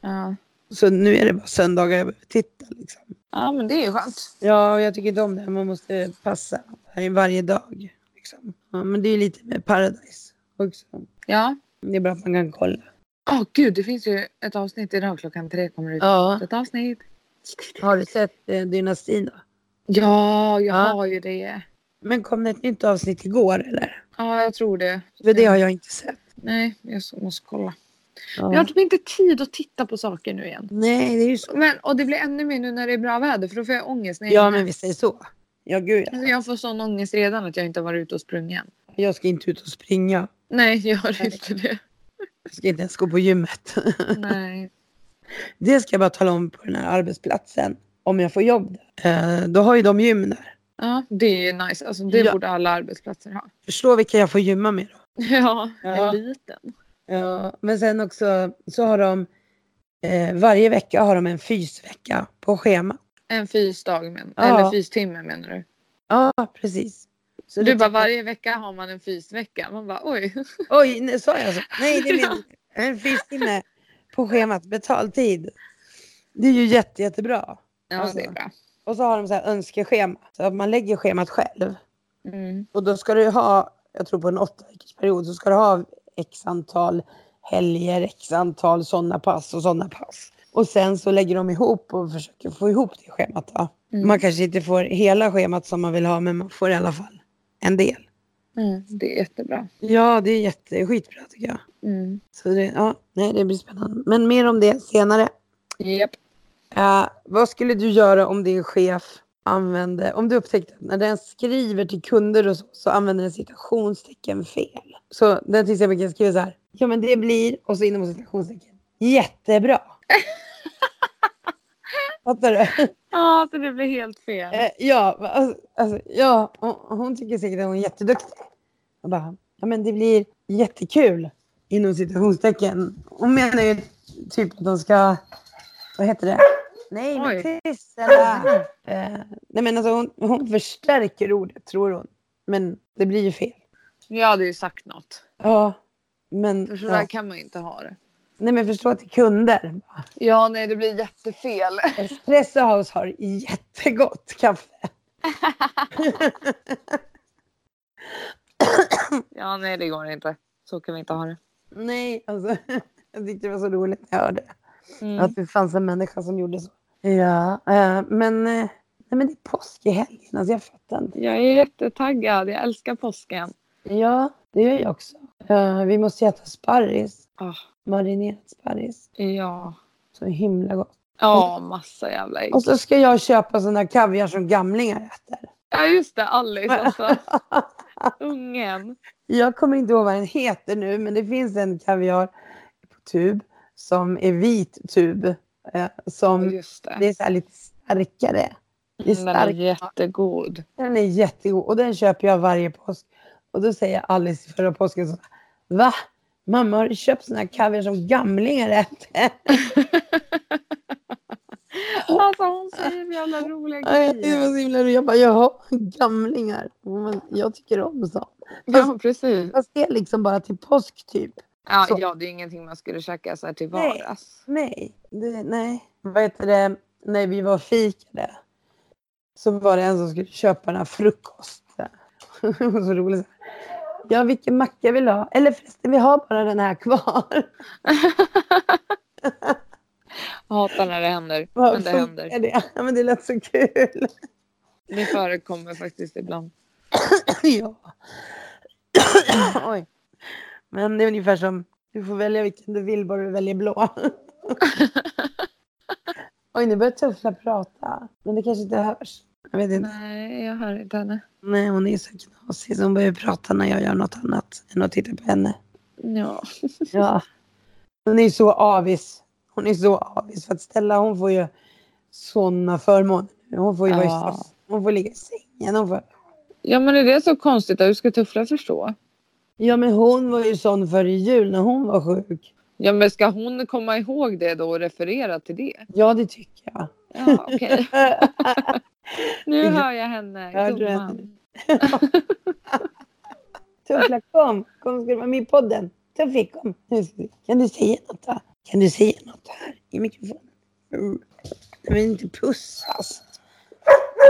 Speaker 1: Ja.
Speaker 2: Så nu är det bara söndagar jag behöver titta liksom.
Speaker 1: ja, men det är ju skönt.
Speaker 2: Ja, och jag tycker inte om det. Man måste passa varje, varje dag. Liksom. Ja, men det är ju lite med Paradise också.
Speaker 1: Ja.
Speaker 2: Det är bra att man kan kolla.
Speaker 1: Åh gud, det finns ju ett avsnitt idag klockan tre kommer det ut.
Speaker 2: Ja.
Speaker 1: Ett avsnitt.
Speaker 2: Har du sett eh, Dynastin då?
Speaker 1: Ja, jag
Speaker 2: Ja.
Speaker 1: har ju det.
Speaker 2: Men kom det ett nytt avsnitt igår eller?
Speaker 1: Ja, jag tror det.
Speaker 2: För det har jag inte sett.
Speaker 1: Nej, jag så- måste kolla.
Speaker 2: Ja.
Speaker 1: Jag har typ inte tid att titta på saker nu igen.
Speaker 2: Nej, det är ju så.
Speaker 1: Men, och det blir ännu mer nu när det är bra väder för då får jag ångest. När jag,
Speaker 2: Ja, men vi säger så. Ja, gud ja.
Speaker 1: Alltså, jag får sån ångest redan att jag inte har varit ute och sprungit än.
Speaker 2: Jag ska inte ut och springa.
Speaker 1: Nej, jag gör
Speaker 2: Nej.
Speaker 1: inte det.
Speaker 2: Jag ska inte ens gå på gymmet.
Speaker 1: Nej.
Speaker 2: Det ska jag bara tala om på den här arbetsplatsen. Om jag får jobb där. Eh, Då har ju de gym där.
Speaker 1: Ja, det är ju nice. Alltså, det
Speaker 2: Ja.
Speaker 1: borde alla arbetsplatser ha.
Speaker 2: Förstå vilka jag får gymma med då.
Speaker 1: Ja,
Speaker 2: Ja.
Speaker 1: eliten.
Speaker 2: Ja, men sen också så har de eh, varje vecka har de en fysvecka på schema.
Speaker 1: En fysdag, men,
Speaker 2: Ja.
Speaker 1: eller fystimme menar du?
Speaker 2: Ja, precis. Så
Speaker 1: Du
Speaker 2: det-
Speaker 1: bara varje vecka har man en fysvecka. Man bara oj.
Speaker 2: Oj, nej, sa jag så? Nej, det
Speaker 1: Ja.
Speaker 2: menar jag En fystimme på schemat, betaltid. Det är ju jätte, jättebra.
Speaker 1: Ja,
Speaker 2: Alltså.
Speaker 1: det är bra.
Speaker 2: Och så har de så här önskeschema. Så att man lägger schemat själv.
Speaker 1: Mm.
Speaker 2: Och då ska du ha, jag tror på en åtta veckors period, så ska du ha x antal helger, x antal sådana pass och sådana pass. Och sen så lägger de ihop och försöker få ihop det schemat. Då.
Speaker 1: Mm.
Speaker 2: Man kanske inte får hela schemat som man vill ha, men man får i alla fall en del.
Speaker 1: Mm. Det är jättebra.
Speaker 2: Ja, det är jätte, skitbra tycker jag.
Speaker 1: Mm.
Speaker 2: Så det, ja, nej, det blir spännande. Men mer om det senare.
Speaker 1: Japp.
Speaker 2: Eh, vad skulle du göra om din chef använde, om du upptäckte att när den skriver till kunder och så, så använder den citationstecken fel? Så den till exempel kan skriva så här, ja men det blir, och så inom citationstecken, jättebra. Fattar du?
Speaker 1: Ja, så det blir helt fel.
Speaker 2: Eh, ja, va- alltså, alltså, ja hon, hon tycker säkert att hon är jätteduktig. Jag bara, ja men det blir jättekul inom citationstecken. Hon menar ju typ att de ska, vad heter det? Nej, men
Speaker 1: Oj.
Speaker 2: tyst Ella. eh, Nej men alltså hon, hon förstärker ordet tror hon. Men det blir ju fel.
Speaker 1: Jag hade ju sagt något.
Speaker 2: Ja, men,
Speaker 1: För så
Speaker 2: ja.
Speaker 1: där kan man ju inte ha det.
Speaker 2: Nej, men förstå att det är kunder.
Speaker 1: Ja, nej, det blir jättefel.
Speaker 2: Espresso House har jättegott kaffe.
Speaker 1: Ja, nej, det går inte. Så kan vi inte ha det.
Speaker 2: Nej, alltså. Jag tyckte det var så roligt när jag hörde det.
Speaker 1: Mm.
Speaker 2: Att det fanns en människa som gjorde så. Ja, eh, men, eh, nej, men det är påsk i helgen. Alltså, jag fattar inte.
Speaker 1: Jag är jättetaggad. Jag älskar påsken.
Speaker 2: Ja, det gör jag också. Eh, vi måste äta sparris.
Speaker 1: Ah,
Speaker 2: Marinerad sparris.
Speaker 1: ja.
Speaker 2: Så himla gott.
Speaker 1: Ja, massa jävla ägg.
Speaker 2: Och så ska jag köpa sån där kaviar som gamlingar äter.
Speaker 1: Ja, just det. Alice också. Ungen.
Speaker 2: Jag kommer inte ihåg vad den heter nu, men det finns en kaviar på tub som är vit tub. eh,
Speaker 1: Ja,
Speaker 2: som
Speaker 1: just det.
Speaker 2: det är så här lite starkare. Det Mm, är
Speaker 1: Den är
Speaker 2: stark.
Speaker 1: jättegod.
Speaker 2: Den är jättegod och den köper jag varje påsk. Och då säger Alice förra påsken så här, Va? Mamma har du köpt såna här kaviar som gamlingar äter?
Speaker 1: Alltså hon säger så jävla roliga
Speaker 2: Ja, Det
Speaker 1: grejer.
Speaker 2: var så himla roligt. Jag bara, jaha, gamlingar. Hon bara, Jag tycker om sånt.
Speaker 1: Ja, precis.
Speaker 2: Fast det är liksom bara till påsk typ.
Speaker 1: Ja,
Speaker 2: Så.
Speaker 1: ja, det är ingenting man skulle käka så här till
Speaker 2: Nej.
Speaker 1: vardags.
Speaker 2: Nej, det, nej. Vad heter det? När vi var och fikade så var det en som skulle köpa den här frukost. Det var så roligt. Ja, vilken macka vill du ha? Eller förresten, vi har bara den här kvar.
Speaker 1: Hatar när det händer.
Speaker 2: Vad
Speaker 1: Men det
Speaker 2: funkar
Speaker 1: händer.
Speaker 2: Det? Ja, men det lät så kul.
Speaker 1: Det förekommer faktiskt ibland.
Speaker 2: ja. Oj. Men det är ungefär som, du får välja vilken du vill, bara du väljer blå. Oj, nu börjar Tuffla prata. Men det kanske inte hörs. Jag vet inte.
Speaker 1: Nej, jag hör inte henne.
Speaker 2: Nej, hon är så knasig så hon börjar prata när jag gör något annat än att titta på henne.
Speaker 1: Ja.
Speaker 2: Ja. Hon är så avis. Hon är så avis. För att Stella hon får ju sådana förmåner. Hon får ju vara i
Speaker 1: Ja.
Speaker 2: soff- Hon får ligga i sängen. Hon får...
Speaker 1: ja, men är det så konstigt att hur ska Tuffla förstå?
Speaker 2: Ja men hon var ju sån före jul när hon var sjuk.
Speaker 1: Ja, men ska hon komma ihåg det då och referera till det?
Speaker 2: Ja det tycker jag.
Speaker 1: Ja, okej. Nu
Speaker 2: Ja.
Speaker 1: hör jag henne.
Speaker 2: Hör du
Speaker 1: gumman.
Speaker 2: henne? Tuffla kom, kom ska du vara med i podden. Tuffla kom. Nu ska vi- Kan du säga något då? Kan du säga något här i mikrofonen? Mm. Jag vill inte pussas.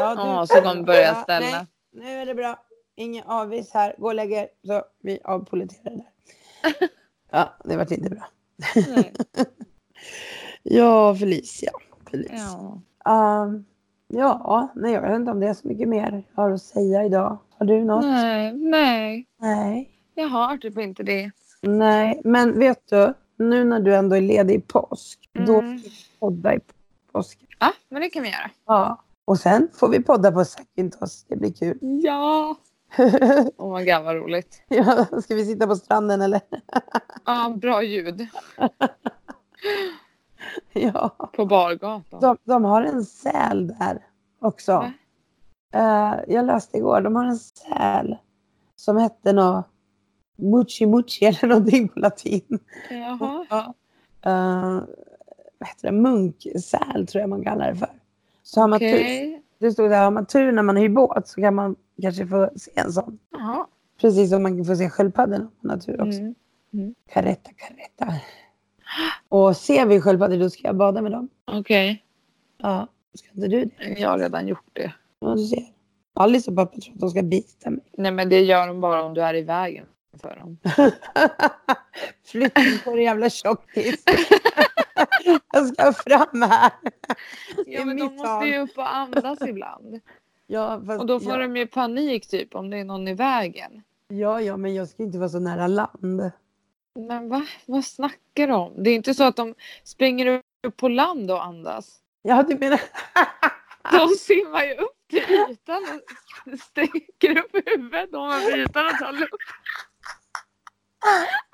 Speaker 2: Ja, du-
Speaker 1: Ja, så kommer börja
Speaker 2: Ja,
Speaker 1: ställa.
Speaker 2: nej, nu är det bra. Ingen avis här. Gå och lägg er. Så vi avpoliterar det där. Ja, det vart inte bra.
Speaker 1: Nej.
Speaker 2: Ja, Felicia. Felicia.
Speaker 1: Ja.
Speaker 2: Ehm, ja, nej, jag vet inte om det är så mycket mer jag har att säga idag. Har du något?
Speaker 1: Nej, nej,
Speaker 2: Nej.
Speaker 1: jag har typ inte det.
Speaker 2: Nej, men vet du, nu när du ändå är ledig i påsk, då får
Speaker 1: Mm.
Speaker 2: vi podda i påsk.
Speaker 1: Ja, men det kan vi göra.
Speaker 2: Ja. Och sen får vi podda på Sakintos. Det blir kul.
Speaker 1: Ja. Oh my god vad roligt.
Speaker 2: ja, ska vi sitta på stranden eller?
Speaker 1: Ja, bra ljud
Speaker 2: ja.
Speaker 1: på bargatan.
Speaker 2: De, de har en säl där också.
Speaker 1: Va?
Speaker 2: Eh, jag läste igår, de har en säl som hette nå Muchi Muchi eller någonting på latin.
Speaker 1: Jaha.
Speaker 2: Ja. Eh, vad heter det? Munksäl tror jag man kallar det för. Så har man typ tur,
Speaker 1: Okej.
Speaker 2: det stod där, har man tur när man hyr båt så kan man kanske få se en sån.
Speaker 1: Jaha.
Speaker 2: Precis som man kan få se sköldpaddorna på natur också.
Speaker 1: Mm.
Speaker 2: Karetta, karetta. Och ser vi sköldpaddor då ska jag bada med dem.
Speaker 1: Okej.
Speaker 2: Ja, ska inte du det?
Speaker 1: Jag har redan gjort det.
Speaker 2: Ja, du ser. Alice och pappa tror att de ska bita mig.
Speaker 1: Nej men det gör de bara om du är i vägen för dem.
Speaker 2: Flytten på en jävla tjockis. jag ska fram här.
Speaker 1: Ja,
Speaker 2: I
Speaker 1: men de
Speaker 2: mitt
Speaker 1: måste
Speaker 2: hörn.
Speaker 1: ju upp och andas ibland.
Speaker 2: Ja, fast,
Speaker 1: Och då får
Speaker 2: ja,
Speaker 1: de ju panik typ om det är någon i vägen.
Speaker 2: ja, ja, men jag ska ju inte vara så nära land.
Speaker 1: Men va? Vad snackar de om? Det är inte så att de springer upp på land och andas.
Speaker 2: Ja, du menar...
Speaker 1: De simmar ju upp till ytan och sträcker upp huvudet ovanför ytan och tar luft.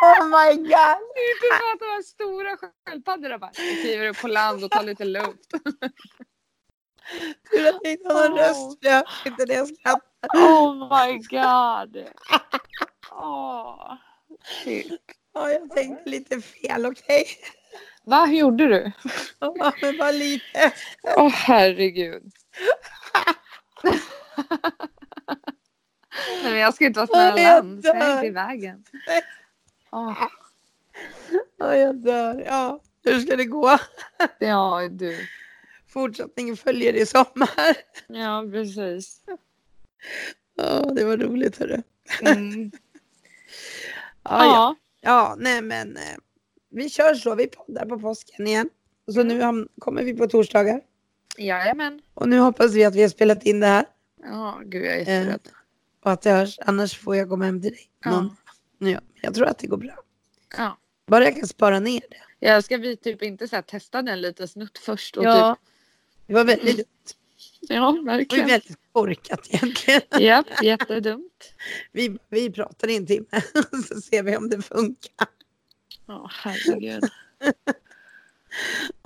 Speaker 2: oh my god!
Speaker 1: Det är inte så att de här stora sköldpaddorna bara kliver upp på land och tar lite luft.
Speaker 2: Tur att jag inte har någon
Speaker 1: Åh.
Speaker 2: röst för jag hör inte det jag skrattar.
Speaker 1: Oh my god! Åh. shit.
Speaker 2: Ja, jag tänkte lite fel, okej?
Speaker 1: Vad gjorde du?
Speaker 2: Ja, men bara lite.
Speaker 1: Åh herregud. Nej, men jag ska inte vara
Speaker 2: Åh, jag
Speaker 1: snäll än, så jag är
Speaker 2: dör.
Speaker 1: inte i vägen.
Speaker 2: Nej.
Speaker 1: Åh,
Speaker 2: Ja, jag dör. Ja, hur ska det gå?
Speaker 1: ja, du.
Speaker 2: Fortsättningen följer i sommar.
Speaker 1: Ja, precis.
Speaker 2: Ja, det var roligt hörru.
Speaker 1: Mm.
Speaker 2: Ja, ja.
Speaker 1: Ja,
Speaker 2: ja, nej men eh, vi kör så. Vi poddar på påsken igen. Så nu ham- kommer vi på torsdagar.
Speaker 1: jajamän.
Speaker 2: Och nu hoppas vi att vi har spelat in det här.
Speaker 1: Ja, gud jag är
Speaker 2: Eh,
Speaker 1: jätterädd.
Speaker 2: och att det hörs. Annars får jag komma hem till dig.
Speaker 1: Ja.
Speaker 2: Någon. Ja. jag tror att det går bra.
Speaker 1: Ja.
Speaker 2: Bara jag kan spara ner det.
Speaker 1: Jag ska vi typ inte så här, testa den lite snutt först? Och
Speaker 2: Ja. Det var väldigt, det
Speaker 1: typ, ja
Speaker 2: var ju
Speaker 1: verkligen.
Speaker 2: väldigt korkat egentligen.
Speaker 1: Ja, jättedumt.
Speaker 2: Vi, vi pratar i en timme så ser vi om det funkar.
Speaker 1: Ja, herregud.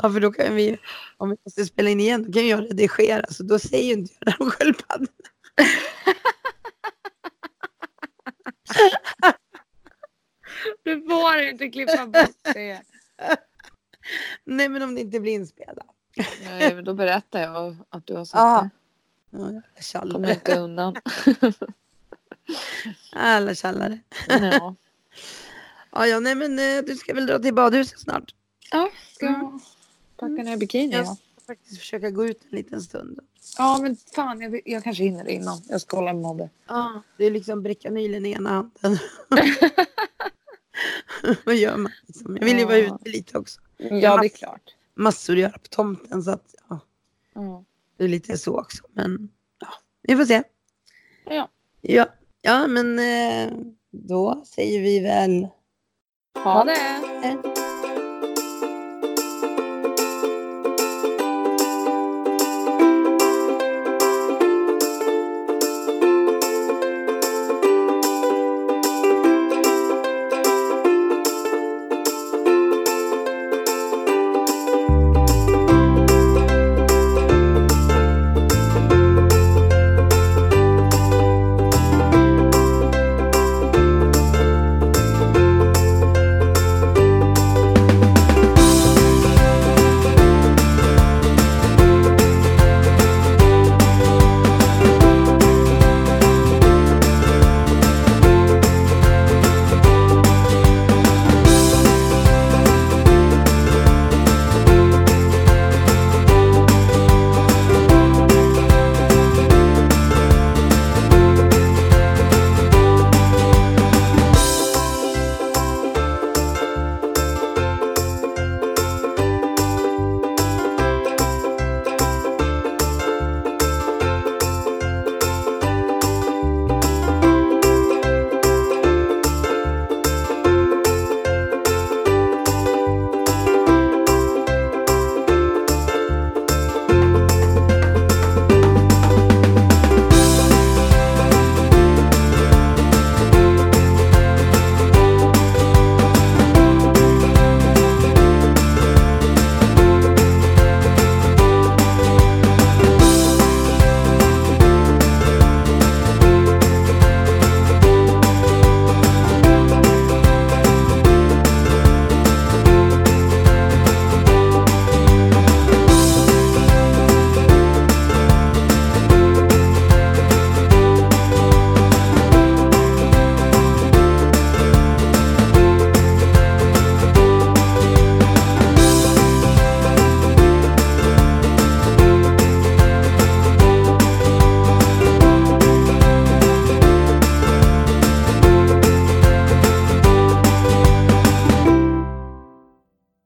Speaker 2: Ja, för då kan vi, om vi måste spela in igen, då kan jag redigera. Så då säger ju inte jag det om sköldpaddan.
Speaker 1: Du får inte klippa bort det.
Speaker 2: Nej, men om det inte blir inspelat.
Speaker 1: Nej, men då berättar jag att du har sagt
Speaker 2: Ja.
Speaker 1: det.
Speaker 2: Ja, jävla
Speaker 1: Kommer
Speaker 2: tjallare.
Speaker 1: inte undan.
Speaker 2: Alla tjallare.
Speaker 1: Ja.
Speaker 2: Ja, ja, nej men eh, du ska väl dra till badhuset snart.
Speaker 1: Ja, ska
Speaker 2: Mm.
Speaker 1: jag packa ner bikini?
Speaker 2: Jag
Speaker 1: Ja.
Speaker 2: ska faktiskt försöka gå ut en liten stund.
Speaker 1: ja, men fan jag, jag kanske hinner det innan. Jag ska hålla med Madde.
Speaker 2: Ja. Det är liksom Bräckanylen i ena handen. Vad gör man? Liksom? Jag vill ju vara
Speaker 1: Ja.
Speaker 2: ute lite också.
Speaker 1: Ja, det är klart.
Speaker 2: Massor att göra på tomten så att ja,
Speaker 1: Ja.
Speaker 2: det är lite så också. Men ja, vi får se.
Speaker 1: Ja.
Speaker 2: Ja, ja men eh, då säger vi väl
Speaker 1: Ha det!
Speaker 2: eh,